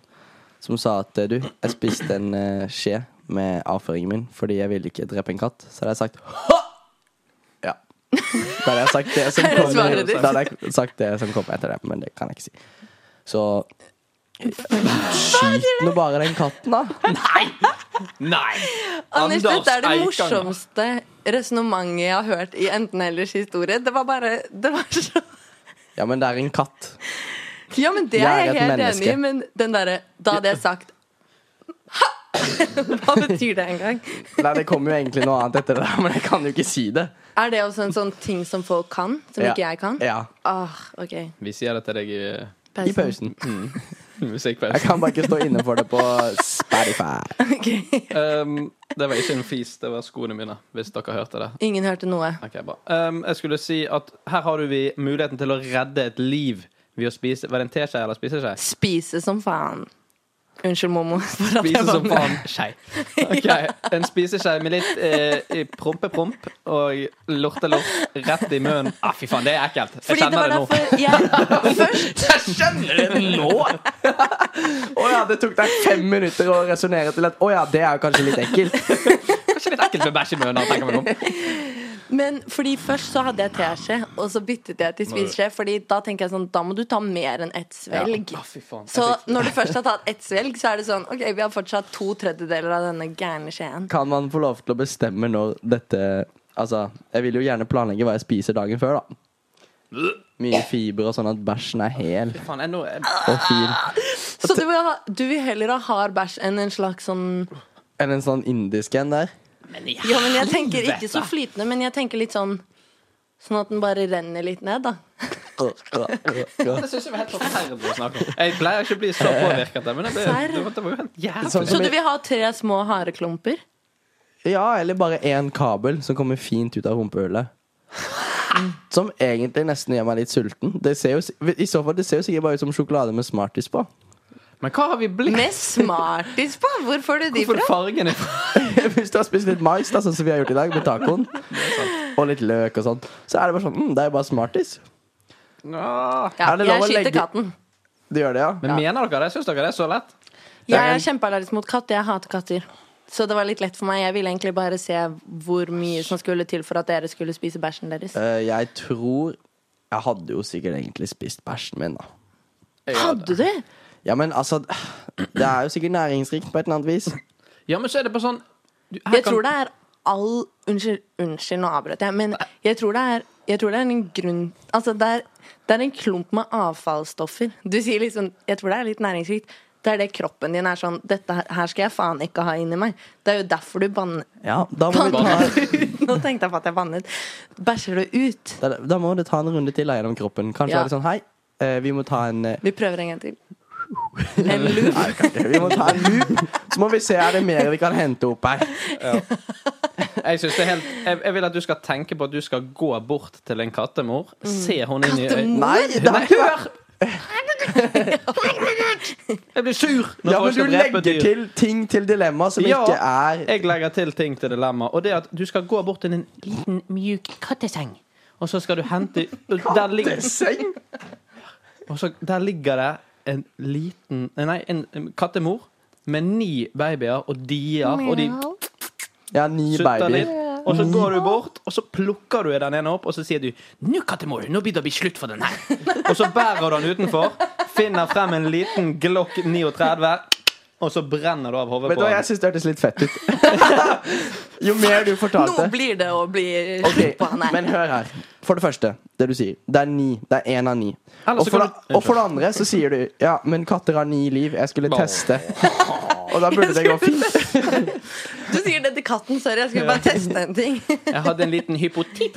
som sa at eh, du, jeg spiste en eh, skje med avføringen min fordi jeg ville ikke drepe en katt, så hadde jeg sagt ha! Ja. Da hadde jeg sagt det som Her er kommer, svaret ditt. da hadde jeg sagt det som kommer etter det, men det kan jeg ikke si. Så Skyt nå bare den katten, da. Nei! Anders, dette er det Eikanger. morsomste resonnementet jeg har hørt i Enten ellers historie. Det var bare Det var så Ja, men det er en katt. Ja, men det Jeg er er jeg et helt menneske. enig i, men den derre Da hadde jeg sagt Ha! Hva betyr det engang? Nei, det kommer jo egentlig noe annet etter det, der, men jeg kan jo ikke si det. Er det også en sånn ting som folk kan, som Ja. ikke jeg kan? Ja, Ah, OK. Vi sier det til deg i I pausen. Mm. Jeg musikkpausen. kan bare ikke stå inne for det på Spotify. Ok. Um, det var ikke en fis, det var skoene mine, hvis dere hørte det. Ingen hørte noe. Ok, bra. Um, jeg skulle si at her har du vi muligheten til å redde et liv ved å spise Var det en teskje eller spiseskje? Spise som faen. Unnskyld, Momo. For at Spise jeg var som med. faen skei. Ok, En spiseskje med litt eh, prompe-promp og lorte-lort rett i munnen. Ah, fy faen, det er ekkelt. Jeg Fordi det var kjenner det nå. derfor jeg først Jeg skjønner det nå! Å ja, det tok deg fem minutter å resonnere til at å ja, det er jo kanskje litt ekkelt. Kanskje litt ekkelt med bæsj i munnen. tenker man om. Men fordi først så hadde jeg teskje, og så byttet jeg til spiseskje. Fordi da tenker jeg sånn, da må du ta mer enn ett svelg. Ah, fy faen. Så når du først har tatt ett svelg, så er det sånn OK, vi har fortsatt to tredjedeler av denne gærne skjeen. Kan man få lov til å bestemme når dette Altså, jeg vil jo gjerne planlegge hva jeg spiser dagen før, da. Mye fiber og sånn at bæsjen er hel Fy faen, jeg nå jeg- og fin. Så du vil, ha, du vil heller ha hard bæsj enn en slags sånn Eller en sånn indisk en der. Ja, men jeg tenker ikke så flytende, men jeg tenker litt sånn Sånn at den bare renner litt ned, da. Det synes jeg var helt forferdelig å snakke om. Jeg pleier ikke å bli så påvirket, av det, men det, ble, det, var, det var jo helt Sånn jævlig. Så som du i, vil ha tre små hareklumper? ja, eller bare én kabel som kommer fint ut av rumpehullet. Som egentlig nesten gjør meg litt sulten. Det ser jo, s- I så fall, det ser jo sikkert bare ut som sjokolade med Smarties på. Men hva har vi blitt? Med Smarties på! Hvor får du de Hvorfor fra? fargen er fra? Hvis du har spist litt mais, da, sånn som vi har gjort i dag, med tacoen, og litt løk og sånt, så er det bare sånn mm, Det er jo bare Smarties. Ja, Er det lov jeg å skyter legge- katten. Du gjør det, ja? Men mener dere det? Syns dere det er så lett? Jeg er kjempeallergisk mot katt. Jeg hater katter. Så det var litt lett for meg. Jeg ville egentlig bare se hvor mye som skulle til for at dere skulle spise bæsjen deres. Eh, jeg tror Jeg hadde jo sikkert egentlig spist bæsjen min, da. Jeg gjør det. Hadde du? Ja, men altså Det er jo sikkert næringsrikt på et eller annet vis. Ja, men så er det på sånn du, her Jeg kan- tror det er all Unnskyld, unnskyld nå avbrøt jeg, men jeg tror det er, jeg tror det er en grunn Altså, det er, det er en klump med avfallsstoffer. Du sier liksom Jeg tror det er litt næringsrikt. Det er det kroppen din er sånn Dette her- her skal jeg faen ikke ha inni meg. Det er jo derfor du banner Ja, da må, du ta, banner ut. Nå tenkte jeg på at jeg bannet. Bæsjer du ut? da, da må du ta en runde til da, gjennom kroppen. Kanskje Ja. er det sånn Hei, eh, vi må ta en eh, Vi prøver en gang til. En loop. Vi må ta en loop, så må vi se er det mer vi kan hente opp her. Jeg, synes det er helt, jeg, jeg vil at du skal tenke på at du skal gå bort til en kattemor, Mm. se henne inn i øynene Nei, det har ikke vært Jeg blir sur! når Ja, folk men skal du drepe dyr. legger til ting til dilemma som Ja. ikke er Jeg legger til ting til dilemmaet, og det er at du skal gå bort til en liten, mjuk katteseng. Og så skal du hente og der, Eh, ligger, Katteseng? og så, der ligger det en liten Nei, en, en kattemor med ni babyer og dier, og de Ja, ni sutter babyer. litt. Og så går du bort, og så plukker du den ene opp, og så sier du 'Nå, kattemor, nå blir det å bli slutt for den her'. Og så bærer du den utenfor, finner frem en liten Glock 39, og så brenner du av hodet Vet på du hva, han. jeg syns det hørtes litt fett ut. jo mer du Nå fortalte blir det å bli Ok, slutt på han her. Men hør her. For det første, det du sier. Det er ni. Det er én av ni. Eller Og så for, kan det, og for det andre så sier du Ja, men katter har ni liv. Jeg skulle Åh. teste. Og da burde det gå fint. Du sier det til katten. Sorry, jeg skulle bare teste en ting. Jeg hadde en liten hypotit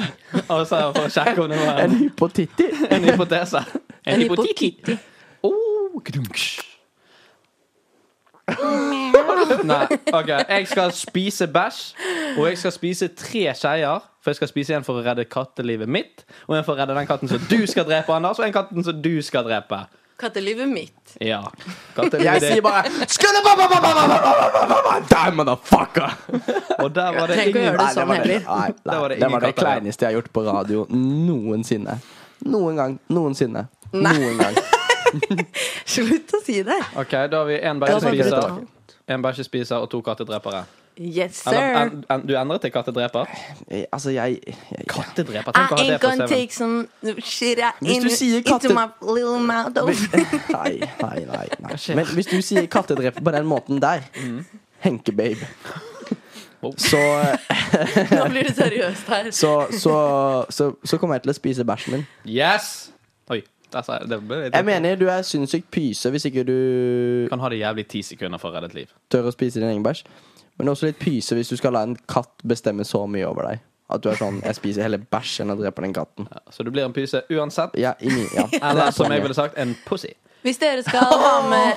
Og så for å sjekke om det var En en, hypotitti. en hypotese. En, hypotit. hypotiti. Oh, kdunks. Nei, ok. Jeg skal spise bæsj, og jeg skal spise tre skeier. For jeg skal spise en for å redde kattelivet mitt, og en for å redde den katten som du skal drepe, Anders, og en katten som du skal drepe. Kattelivet mitt. Ja. Jeg Kattelivet sier ditt. bare skulle ba- ba- ba- ba- ba- ba- ba- ba- ba- ba- Die, motherfucker! Og der var det Tenk å ingen gjøre det Nei, sånn var det, heller. nei, nei, Det var det det, ingen var det katter, ja. kleineste jeg har gjort på radio noensinne. Noen gang. Noensinne. Nei. Noen gang. Slutt å si det. OK, da har vi én Jeg hadde bæsjespiser, tenkt en bæsjespiser og to kattedrepere. Yes, Eller, sir. en, en, du endret til kattedreper? Eh, Altså, jeg, jeg Kattedreper? Tenk I å ha det ain't på gonna CV-en. take some shit out Hvis in, du sier katte- into my little mouth. Nei, nei, nei. nei. Men hvis du sier kattedreper på den måten der, Mm. Henke-babe, Oh. så, Nå blir det seriøst her. så, så, så, så kommer jeg til å spise bæsjen min. Yes! Oi, der sa jeg det. Ble litt Jeg mener du er sinnssykt pyse hvis ikke du kan ha det jævlig ti sekunder for å redde et liv. tør å spise din egen bæsj. Men også litt pyse hvis du skal la en katt bestemme så mye over deg. At du er sånn 'Jeg spiser heller bæsj enn å drepe den katten'. Ja, så du blir en pyse uansett. Ja, sånn i min, ja. Eller som jeg poenget. ville sagt, en pussy. Hvis dere skal ha med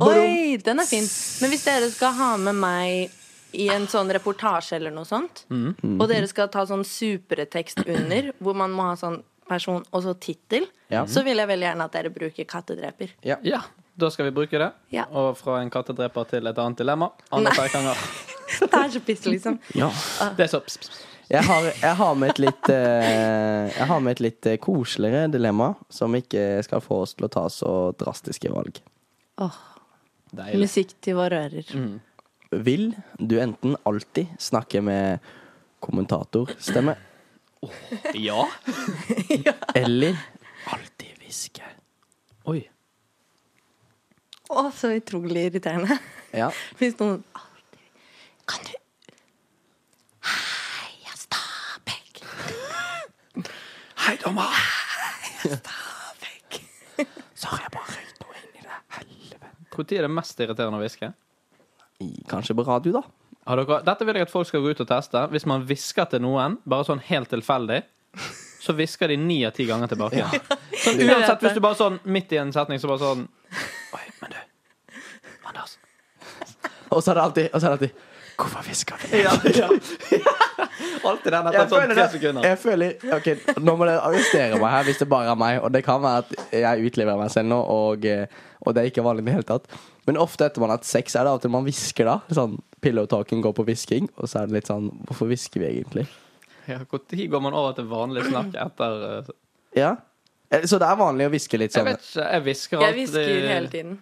Oi, den er fin. Men hvis dere skal ha med meg i en sånn reportasje eller noe sånt, Mm. og dere skal ta sånn supertekst under, hvor man må ha sånn person og så tittel, Ja. så vil jeg veldig gjerne at dere bruker 'kattedreper'. Ja, Da skal vi bruke det. Ja. Og fra en kattedreper til et annet dilemma. Andre Nei. Berkanger. Det er så piss, liksom. Ja. Det er så pss, pss. Jeg har, jeg har med et litt eh, Jeg har med et litt eh, koseligere dilemma, som ikke skal få oss til å ta så drastiske valg. Åh, Deilig. musikk til våre ører. Vil du enten alltid snakke med kommentatorstemme, Ja. eller alltid hviske? Oi. Å, så utrolig irriterende. Ja. Hvis noen alltid Kan du Heia Stabæk! Hei, dommer. Stabæk! Så har jeg bare røykt noe inn i det. Helvete. Når er det mest irriterende å hviske? I- Kanskje på radio, da. Har dere, dette vil jeg at folk skal gå ut og teste. Hvis man hvisker til noen, bare sånn helt tilfeldig, så hvisker de ni av ti ganger tilbake. Sånn, uansett, hvis du bare sånn midt i en setning, så bare sånn Oi, men du, Anders. Og så er det alltid, og så er det alltid Hvorfor hvisker vi? Ja, ja. Alltid den etter Jeg sånn føler, tre det, sekunder. jeg føler Ok, nå må dere arrestere meg her hvis det bare er meg. Og det kan være at jeg utleverer meg selv nå, og, eh, og det er ikke vanlig i det hele tatt. Men ofte etter man har hatt sex, er det av og til man hvisker da. Sånn pillow talking går på hvisking, og så er det litt sånn Hvorfor hvisker vi egentlig? Ja, Når går man over til vanlig snakk etter eh, Ja. Eh, Så det er vanlig å hviske litt Jeg sånn. vet ikke. Jeg hvisker Jeg alltid hvisker hele tiden.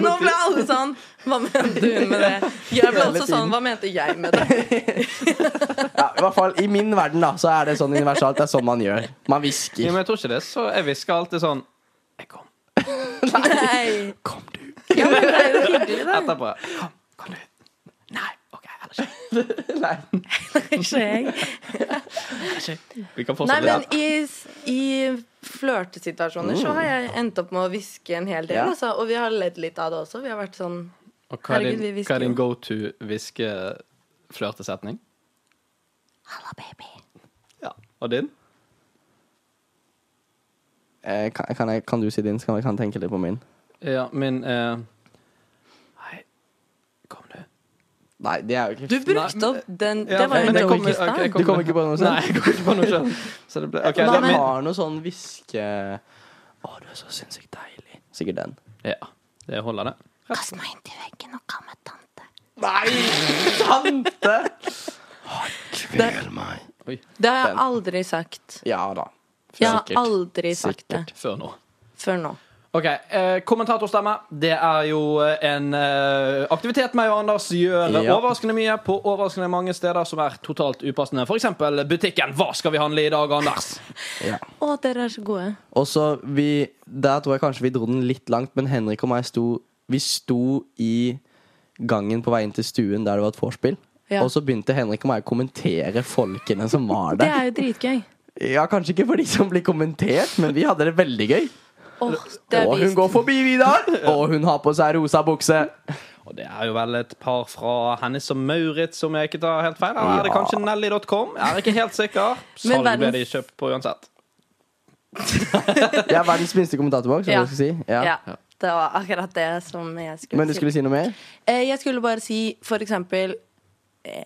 Nå ble alle sånn Hva mente hun med det? Jeg ble Hele også sånn tiden. Hva mente jeg med det? Ja, I hvert fall i min verden, da, så er det sånn universalt. Det er sånn man gjør. Man Ja, hvisker. men jeg tror ikke det. Så jeg hvisker alltid sånn Jeg kom Nei. Kom du Ja, men det er jo hyggelig, da. etterpå. Kom, kom du. Nei. OK, ellers ikke. Nei. Ikke jeg. Vi kan Nei, fortsette. men i, i flørtesituasjoner så har jeg endt opp med å hviske en hel del, Mm. Ja. altså. Og vi har ledd litt av det også. Vi har vært sånn Og hva er Herregud, din, vi hvisker hva er din jo. go to hviske-flørtesetning? Halla, baby. Ja. Og din? Eh, Kan, kan, jeg, kan du si din, så kan jeg kan tenke litt på min? Ja, min eh, Hei, kom du? Nei, det er jo ikke Du brukte Nei, opp den Ja, Det var jo en men jeg joke kommer- i stad. ok, jeg Du kommer ikke på noe selv? Nei, jeg kommer ikke på noe selv. Så det ble, ok, da, Men han min, har noe sånn hviske Å, du er så sinnssykt deilig. Sikkert den. ja, det holder, det. Kast meg inntil veggen og kall meg tante. Nei! Tante! Kvel meg. Det har jeg Den. aldri sagt. Ja da. Jeg har Sikkert. aldri sagt Sikkert. det Før nå. før nå. Ok, eh, Kommentatorstemme. Det er jo eh, en eh, aktivitet meg og Anders gjør Ja. overraskende mye på overraskende mange steder som er totalt upassende. F.eks. butikken. Hva skal vi handle i dag, Anders? Ja. Å, dere er så gode. Og så vi Der tror jeg kanskje vi dro den litt langt, men Henrik og meg sto Vi sto i gangen på vei inn til stuen der det var et vorspiel. Ja. Og så begynte Henrik og meg å kommentere folkene som var Det der. er jo dritgøy. Ja, Kanskje ikke for de som blir kommentert, men vi hadde det veldig gøy. Åh, det er Og hun vist. går forbi Vidar, og hun har på seg rosa bukse. Og Det er jo vel et par fra Hennes og Maurits, om jeg ikke tar helt feil. Eller er det Ja. kanskje Nelly.com? Jeg er ikke helt sikker. Men Salg ble verdens- de kjøpt på uansett. Jeg er verdens minste kommentatorboks. Ja. Ja. Si. Ja. Ja. Det var akkurat det som jeg skulle, Men du skulle si noe mer? si. Eh, Jeg skulle bare si for eksempel eh,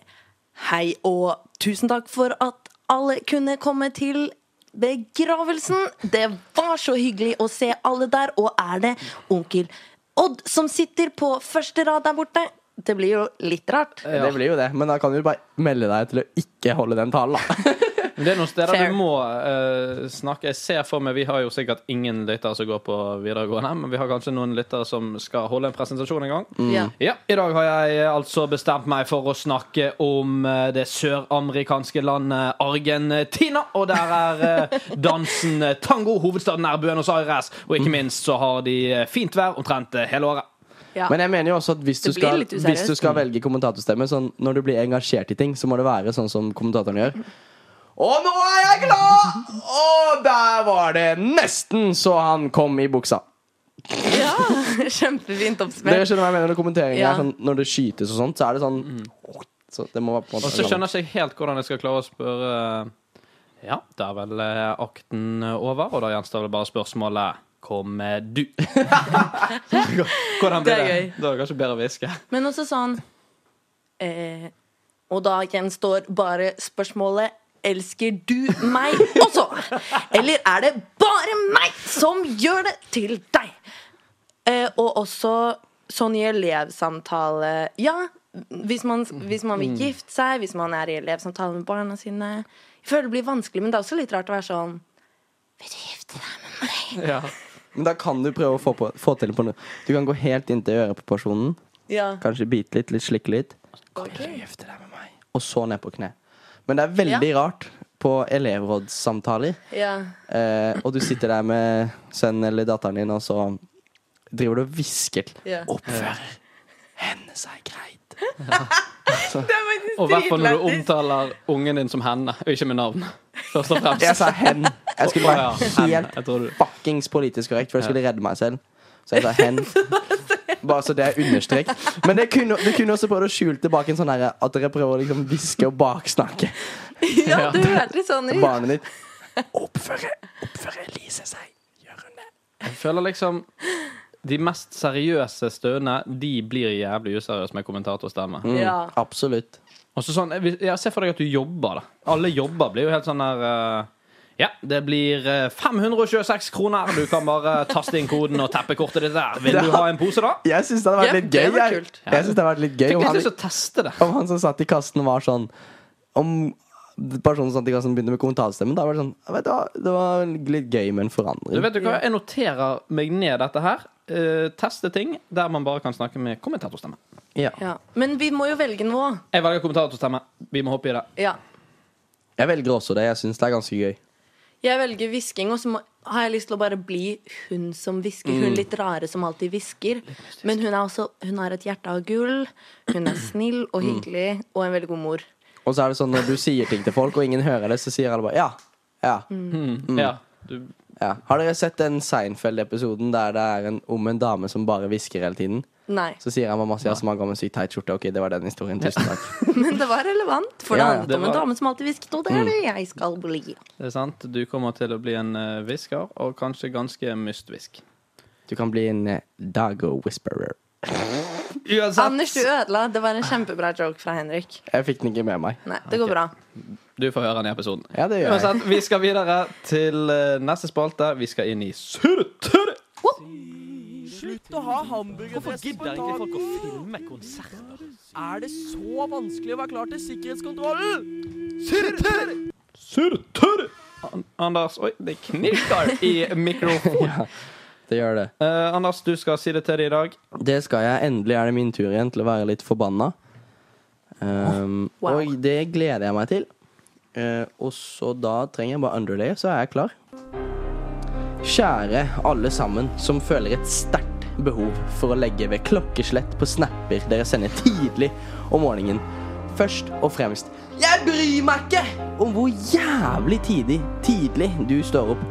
Hei og tusen takk for at alle kunne komme til begravelsen. Det var så hyggelig å se alle der. Og er det onkel Odd som sitter på første rad der borte? Det blir jo litt rart. Ja. Det blir jo det, men da kan du bare melde deg til å ikke holde den talen, da. Men det er noen steder Fair. du må eh, snakke. Jeg ser for meg, Vi har jo sikkert ingen lyttere som går på videregående, men vi har kanskje noen lyttere som skal holde en presentasjon en gang. Mm. Ja. Ja, I dag har jeg eh, altså bestemt meg for å snakke om eh, det søramerikanske landet Argentina. Og der er eh, dansen eh, tango. Hovedstaden er Buenos Aires. Og ikke minst så har de eh, fint vær omtrent eh, hele året. Ja. Men jeg mener jo også at hvis du, Det blir skal, litt useriøst. hvis du skal velge kommentatorstemme, sånn, når du blir engasjert i ting, så må det være sånn som kommentatoren gjør. Og nå er jeg glad! Og der var det nesten så han kom i buksa. Ja, kjempefint Dere oppspill. skjønner hva jeg mener Når kommenteringen Ja. er sånn Når det skytes og sånt, så er det sånn så det må være på en Mm. måte Og så skjønner jeg ikke helt hvordan jeg skal klare å spørre eh, Ja, da er vel eh, akten over, og da gjenstår det bare spørsmålet Kommer du? Hvordan Det blir er det? Da er det kanskje bedre å hviske. Men også sånn eh, Og da gjenstår bare spørsmålet Elsker du meg også? Eller er det bare meg som gjør det til deg? Eh, og også sånn i elevsamtale Ja, hvis man, hvis man Mm. vil gifte seg, hvis man er i elevsamtale med barna sine Jeg føler det blir vanskelig, men det er også litt rart å være sånn Vil du gifte deg med meg? Ja. Men da kan du prøve å få, på, få til på noe Du kan gå helt inntil øret på personen Ja. Kanskje bite litt, litt slikke litt Gifte deg med meg Og så ned på kne Men det er veldig rart på elevrådssamtaler ja. eh, Og du sitter der med sønnen eller datteren din Og så driver du og visker til Ja. Oppfører henne seg greit Og i hvert fall når du omtaler ungen din som henne, og ikke med navn. Først og fremst. Jeg sa hen Jeg skulle Å, ja, være hen. helt Jeg tror du- fuckings politisk korrekt, for jeg skulle redde meg selv. Så jeg sa hen. Bare så det er understreket. Men det kunne, du kunne også prøvd å skjule tilbake en sånn herre at dere prøver å liksom hviske og baksnakke Ja, du hørte litt sånn ut. barnet ditt. Oppføre, oppføre Elise seg. Gjør hun det? Jeg føler liksom de mest seriøse stønene de blir jævlig useriøse med kommentatorstemme. Mm, Ja. Absolutt. Og så sånn, hvis- jeg ser for deg at du jobber, da. Alle jobber blir jo helt sånn der eh, Ja, det blir eh, 526 kroner. Du kan bare eh, taste inn koden og teppe kortet ditt der. Vil du ha en pose, da? Jeg syns det hadde vært Ja, litt det gøy. var Jeg, kult. jeg synes det hadde vært litt gøy Jeg om har lyst til han, å teste det. om han som satt i kassen, var sånn Om personen som satt i kassen begynte med kommentarstemmen, da var det sånn vet du, hva, Det var litt gøy med en Du forandring. vet du hva, Jeg noterer meg ned dette her. eh, teste ting der man bare kan snakke med kommentatorstemme. Ja. Ja. Men vi må jo velge noe. Jeg velger kommentatorstemme. Vi må hoppe i det. Ja. Jeg velger også det. Jeg syns det er ganske gøy. Jeg velger hvisking, og så må, har jeg lyst til å bare bli hun som hvisker. Hun litt rare som alltid hvisker. Men hun, er også, hun har et hjerte av gull. Hun er snill og hyggelig, og en veldig god mor. Og så er det sånn når du sier ting til folk, og ingen hører det, så sier alle bare ja. Ja. Mm. Hmm, Ja, du, ja. Har dere sett den Seinfeld-episoden der det er en, om en dame som bare hvisker hele tiden? Nei. Så sier han mamma sier som han går med sykt teit skjorte. Ok, det var den historien. Tusen takk. Men det var relevant, for det Ja, ja. handlet Det om en var- dame som alltid hvisket, og det er det jeg skal bli. det er sant. Du kommer til å bli en eh, hvisker, og kanskje ganske mystvisk. Du kan bli en eh, dago whisperer. Anders, du ødela. Det var en kjempebra joke fra Henrik. Jeg fikk den ikke med meg. Nei, det går bra. Du får høre den i episoden. Ja, det gjør jeg. Uansett, vi skal videre til eh, neste spalte. Vi skal inn i Surretur. Slutt å ha hamburgerdress på dagen! filme konserter? Er det så vanskelig å være klar til sikkerhetskontrollen? Surretur! An Anders Oi, det knirker i mikrofonen. det gjør det. Eh, Anders, du skal si det til dem i dag. Det skal jeg. Endelig er det min tur igjen til å være litt forbanna. Um, Wow. Og det gleder jeg meg til. Eh, og så da trenger jeg bare underlayer, så er jeg klar. Kjære alle sammen som føler et sterkt behov for å legge ved klokkeslett på snapper dere sender tidlig om morgenen. Først og fremst Jeg bryr meg ikke om hvor jævlig tidlig, tidlig du står opp.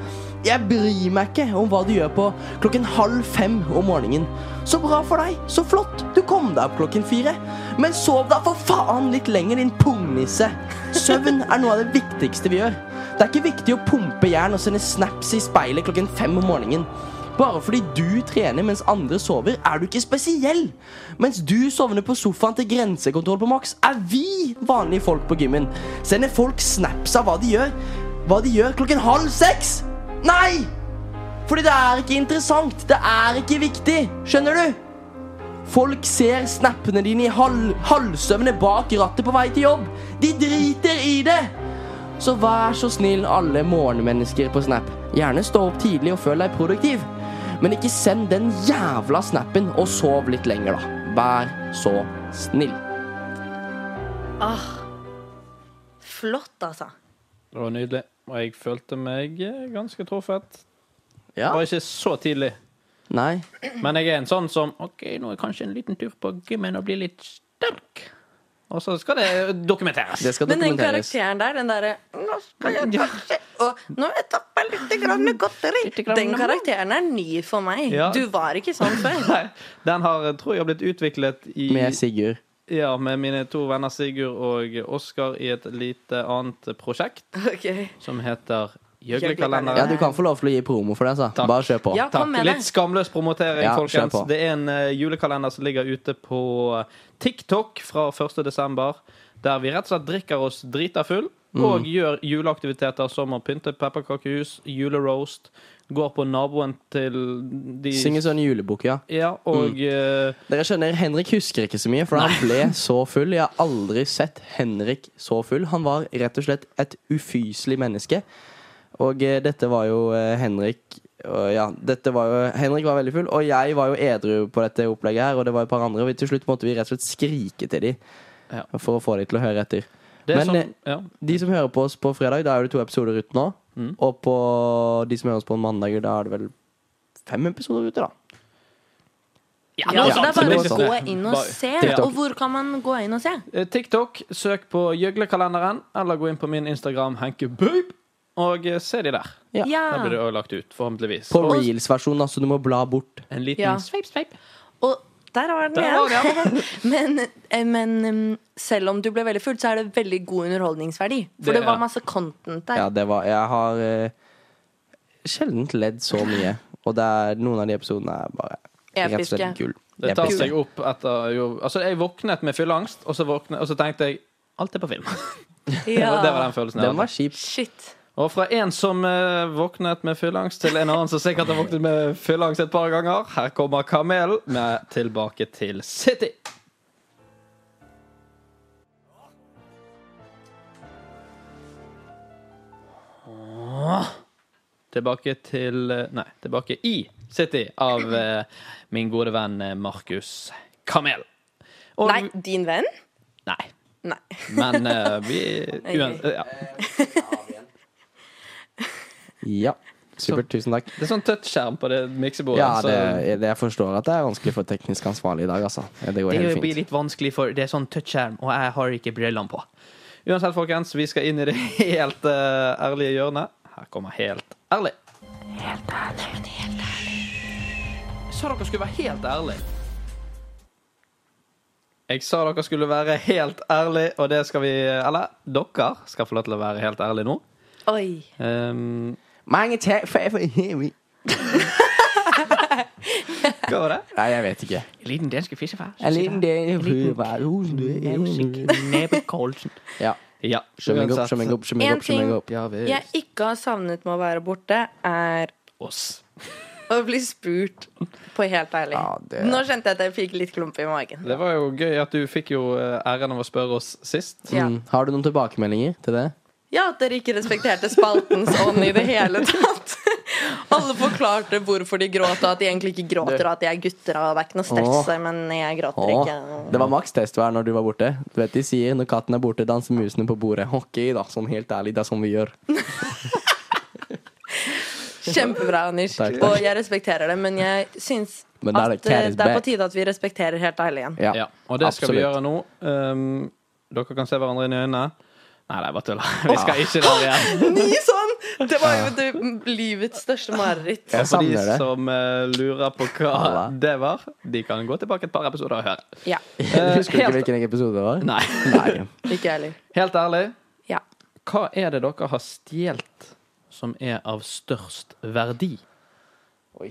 Jeg bryr meg ikke om hva du gjør på klokken halv fem om morgenen. Så bra for deg, så flott, du kom deg opp klokken fire. Men sov da for faen litt lenger, din pungnisse. Søvn er noe av det viktigste vi gjør. Det er ikke viktig å pumpe jern og sende snaps i speilet klokken fem om morgenen. Bare fordi du trener mens andre sover, er du ikke spesiell. Mens du sovner på sofaen til grensekontroll på Max, er vi vanlige folk på gymmen. Sender folk snaps av hva de gjør. Hva de gjør klokken halv seks? Nei! Fordi det er ikke interessant. Det er ikke viktig. Skjønner du? Folk ser snappene dine i halv, halvsøvne bak rattet på vei til jobb. De driter i det. Så vær så snill, alle morgenmennesker på Snap. Gjerne stå opp tidlig og føl deg produktiv. Men ikke send den jævla snappen og sov litt lenger, da. Vær så snill. Ah, flott, altså. Det var nydelig. Og jeg følte meg eh, ganske truffet. Ja. Bare ikke så tidlig. Nei. Men jeg er en sånn som OK, nå er kanskje en liten tur på gymmen og bli litt sterk. Og så skal det dokumenteres. Det skal Men den dokumenteres. karakteren der, den derre Nå skal jeg kanskje Og nå har jeg tappa litt grann godteri. Den karakteren er ny for meg. Ja. Du var ikke sånn før. Nei, Den har, tror jeg har blitt utviklet i, Med Sigurd. ja, med mine to venner Sigurd og Oskar i et lite annet prosjekt Ok som heter Ja, Gjøglekalenderen. du kan få lov til å gi promo for den, så. Takk. Bare kjør på. Ja, kom Takk. med Litt det. skamløs promotering, Ja, folkens. kjør på. Det er en eh, julekalender som ligger ute på TikTok fra 1. desember, der vi rett og slett drikker oss drita full Mm. og gjør juleaktiviteter som å pynte pepperkakehus, juleroast, går på naboen til de Syng en sånn julebok, ja. Ja, og Mm. eh, Dere skjønner, Henrik husker ikke så mye, for han ble så full. Jeg har aldri sett Henrik så full. Han var rett og slett et ufyselig menneske. Og eh, dette var jo eh, Henrik og ja, dette var jo, Henrik var veldig full, og jeg var jo edru på dette opplegget. her Og det var et par andre Og vi- til slutt måtte vi rett og slett skrike til dem Ja. for å få dem til å høre etter. det er Men eh, sånn ja. de som hører på oss på fredag, da er det to episoder ute nå. Mm. Og på de som hører oss på mandag, da er det vel fem episoder ute, da. Ja, noe så det er sånt. bare Det er å sånn. gå inn og Bare- se. TikTok. Og hvor kan man gå inn og se? Eh, TikTok, søk på Gjøglekalenderen, eller gå inn på min Instagram, Henke Boop, og eh, se de der. Ja. Der blir det Ja. òg lagt ut, forhåpentligvis. På Og reels-versjonen, altså. Du må bla bort. en liten Ja. sveip, sveip. Og der var den Der var det, igjen. men, eh, men um, selv om du ble veldig full, så er det veldig god underholdningsverdi. For Det- det var ja. masse content der. Ja, det var Jeg har uh, sjelden ledd så mye. Og det er, noen av de episodene er bare rett og Episke. slett gull. Det tar Episke. seg opp etter jo, Altså, jeg våknet med fylleangst, og så, våknet, og så tenkte jeg Alt er på film. Ja. det var den følelsen jeg Den var hadde. kjip. Shit. Og fra en som eh, våknet med fylleangst, til en annen som sikkert har våknet med fylleangst et par ganger. Her kommer Kamelen med 'Tilbake til City'. Ah. Tilbake til eh, Nei, tilbake i City av eh, min gode venn eh, Markus Kamel. Og- Nei, din venn? Nei. Nei. Men eh, vi uans- ja. Ja. Supert. Tusen takk. Det er sånn touchskjerm på det miksebordet. Ja, så- det, det, jeg forstår at det er vanskelig for teknisk ansvarlig i dag, altså. Ja, Det går Det helt blir fint. litt vanskelig, for det er sånn touchskjerm, og jeg har ikke brillene på. Uansett, folkens, vi skal inn i det helt eh, ærlige hjørnet. Her kommer Helt ærlig. Jeg sa dere skulle være helt ærlig. Jeg sa dere skulle være helt ærlig, og det skal vi Eller dere skal få lov til å være helt ærlig nå. Oi. Ehm, Mange takk for- for- Nei, hva var det? jeg vet ikke. En liten dansk fiskefær. En liten del Ja. Ja. Sjømeng opp, uansett, sjømeng opp, sjømeng En opp. sjømeng ting- opp. Ja, vi- Jeg ikke har savnet med å være borte, er Oss. å bli spurt på helt ærlig. Ja, det- Nå kjente jeg at jeg fikk litt klump i magen. Det var jo gøy at du fikk jo eh, æren av å spørre oss sist. Ja. Mm. Har du noen tilbakemeldinger til det? ja, at dere ikke respekterte spaltens ånd i det hele tatt. Alle forklarte hvorfor de gråt, og at de egentlig ikke gråter, og at de er gutter, og det er ikke noe stress, men jeg gråter Åh, ikke. det var maks testvær når du var borte. Du vet de sier når katten er borte, danser musene på bordet. Ok, da. Sånn helt ærlig, det er sånn vi gjør. Kjempebra, Anders. Takk, takk. Og jeg respekterer det, men jeg syns Men da er at det eh, cat is det er på back. tide at vi respekterer helt ærlig igjen. Ja, og det skal vi gjøre nå. Um, dere kan se hverandre inn i øynene. Nei, det er bare tull. Vi Ah. skal ikke der igjen. Ny sånn! Det var jo det, livets største mareritt. Jeg For de savner det. som eh, lurer på hva Hva? det var, de kan gå tilbake et par episoder og høre. Ja. Eh, Husker du ikke helt- hvilken episode det var? Nei. Nei. Ikke jeg heller. Helt ærlig, Ja. hva er det dere har stjålet som er av størst verdi? Oi.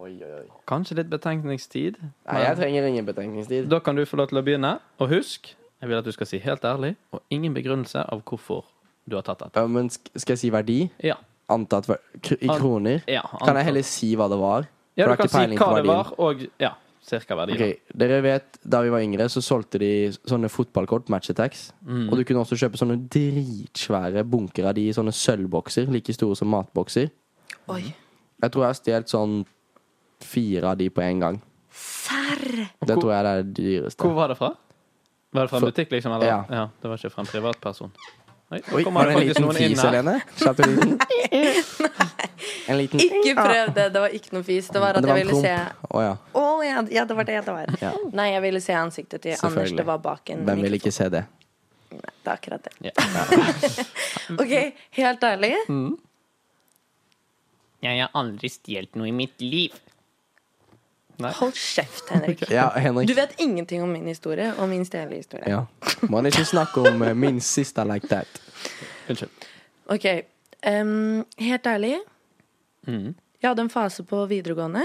Oi, oi, oi. Kanskje litt betenkningstid. Nei, jeg trenger ingen betenkningstid. Da kan du få lov til å begynne. Og husk, jeg vil at du skal si helt ærlig, og ingen begrunnelse av hvorfor du har tatt dette. Ja, men sk- skal jeg si verdi? Ja. Antatt ver kr i An- kroner? ja Kan jeg heller si hva det var? Ja, For du jeg har kan ikke si peiling på hva det verdien. var, og ja, cirka verdien. Ok, Dere vet, Da vi var yngre, så solgte de sånne fotballkort, match attacks. Og du kunne også kjøpe sånne dritsvære bunker av de i sånne sølvbokser, like store som matbokser. Oi. Mm. Jeg tror jeg har stjålet sånn fire av de på en gang. Serr! Det tror jeg det er det dyreste. Hvor var det fra? Var det fra en For- butikk, liksom? Eller? Ja. Ja. Det var ikke fra en privatperson. Oi, nå Oi, kommer var det det faktisk en liten noen inn fis, her. Helene? Slapp du den? En liten Ikke prøv det. Det var ikke noe fis. Det var at Det var jeg en ville se promp. Å ja. Å ja, ja, det var det det var. Ja. Nei, jeg ville se ansiktet til Anders. Selvfølgelig. Det var bak en Hvem vil ikke se det? mikrofon. Det er akkurat det. Ja. Mm. OK, helt ærlig. Jeg har aldri stjålet noe i mitt liv. Hold kjeft, Henrik. Ja, Henrik. Du vet ingenting om min historie og min stjelehistorie. Ja. Man ikke snakke om eh, min sister like that. Unnskyld. Ok, em, helt ærlig. Jeg hadde en fase på videregående.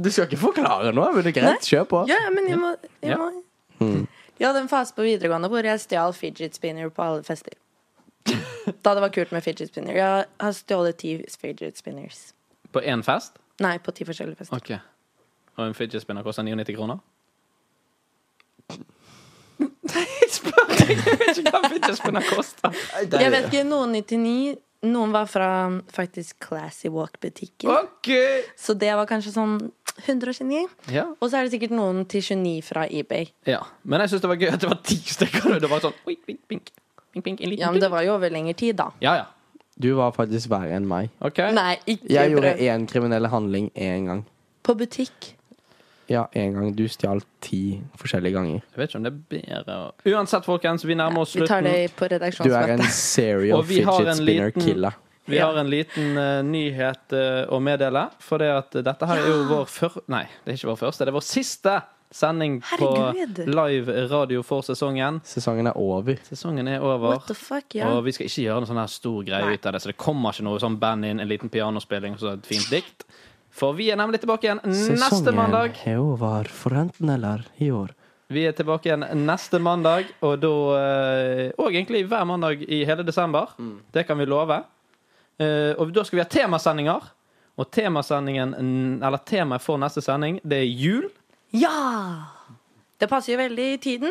Du skal ikke forklare noe, men det er greit. Kjør på. Ja, men jeg må, jeg Ja. må. Mm. Jeg hadde en fase på videregående hvor jeg stjal fidget spinner på alle fester. Da det var kult med fidget spinner. Jeg har stjålet ti fidget spinners. På én fest? Nei, på ti forskjellige fester. Ok. Og en fidget spinner koster 99 kroner? Jeg spør, jeg vet ikke hva fidget spinner koster. Jeg vet ikke, noen 99, noen var fra um, faktisk Classy Walk-butikken. OK! Så det var kanskje sånn 129. Ja. Og så er det sikkert noen til 29 fra eBay. ja. Men jeg syns det var gøy at det var ti stykker. Det var sånn oi, pink, pink, pink, pink, en liten Ja, men det pink. var jo over lengre tid, da. Ja, ja. Du var faktisk verre enn meg. OK. Nei, ikke Jeg gjorde brød. én kriminell handling én gang. På butikk. Ja, én gang. Du stjal ti forskjellige ganger. Jeg vet ikke om det er bedre å Uansett, folkens, vi nærmer oss Vi tar slutten. det på Du er redaksjonsmøtet. en serial Og vi har fidget en spinner liten- killer. Vi Ja. har en liten eh, nyhet eh, å meddele. For det at dette her er jo vår før... Nei, det er ikke vår første. Det er vår siste sending Herregud. på live radio for sesongen. Sesongen er over. Sesongen er over. What the fuck, ja. Og vi skal ikke gjøre noe sånn her stor greie Nei. ut av det, så det kommer ikke noe sånn band inn, en liten pianospilling og så et fint dikt. For vi er nemlig tilbake igjen neste mandag. er over for enten eller i år. Vi er tilbake igjen neste mandag, og da eh, Og egentlig hver mandag i hele desember. Det kan vi love. Eh, Og da skal vi ha temasendinger. Og temasendingen, n- eller temaet for neste sending, det er jul. Ja! Det passer jo veldig i tiden.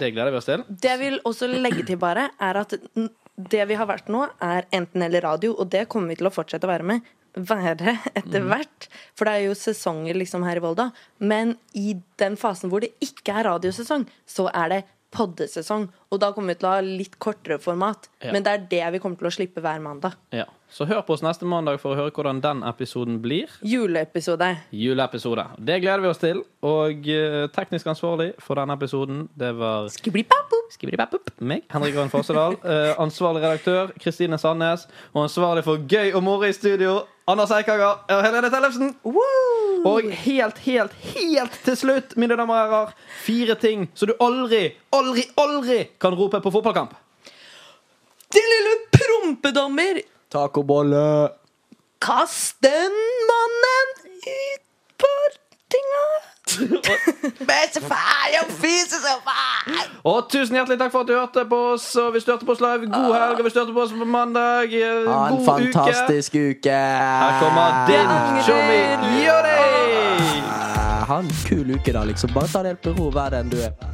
Det gleder vi oss til. Det jeg vil også legge til, bare, er at n- det vi har vært nå, er enten eller radio, og det kommer vi til å fortsette å være med. Være etter hvert. For det er jo sesonger liksom her i Volda. Men i den fasen hvor det ikke er radiosesong, så er det poddesesong. Og da kommer vi til å ha litt kortere format. Ja. Men det er det vi kommer til å slippe hver mandag. Ja. Så hør på oss neste mandag for å høre hvordan den episoden blir. Juleepisode. Juleepisode. Det gleder vi oss til. Og eh, teknisk ansvarlig for denne episoden, det var Skibbidi-bap-bop. Skibbidi-bap-bop. Meg, Henrik Grønn Fossedal. Eh, ansvarlig redaktør, Kristine Sandnes. Og ansvarlig for gøy og moro i studio, Anders Eikanger og Helene Tellefsen. Uh. Og helt, helt, helt til slutt, mine damer og herrer, fire ting så du aldri, aldri, aldri kan rope på fotballkamp. Din lille prompedommer! Tacobolle! Kast den mannen ut på tinga! Og tusen hjertelig takk for at du hørte på oss. Og hvis du hørte på oss live, god helg. Og hvis du hørte på oss på mandag, eh, Ha en god uke. fantastisk uke! Her kommer din angrer. showmy. Gjør det! Ah. Ha en kul uke, da, liksom. Bare ta det helt med ro, vær den du er.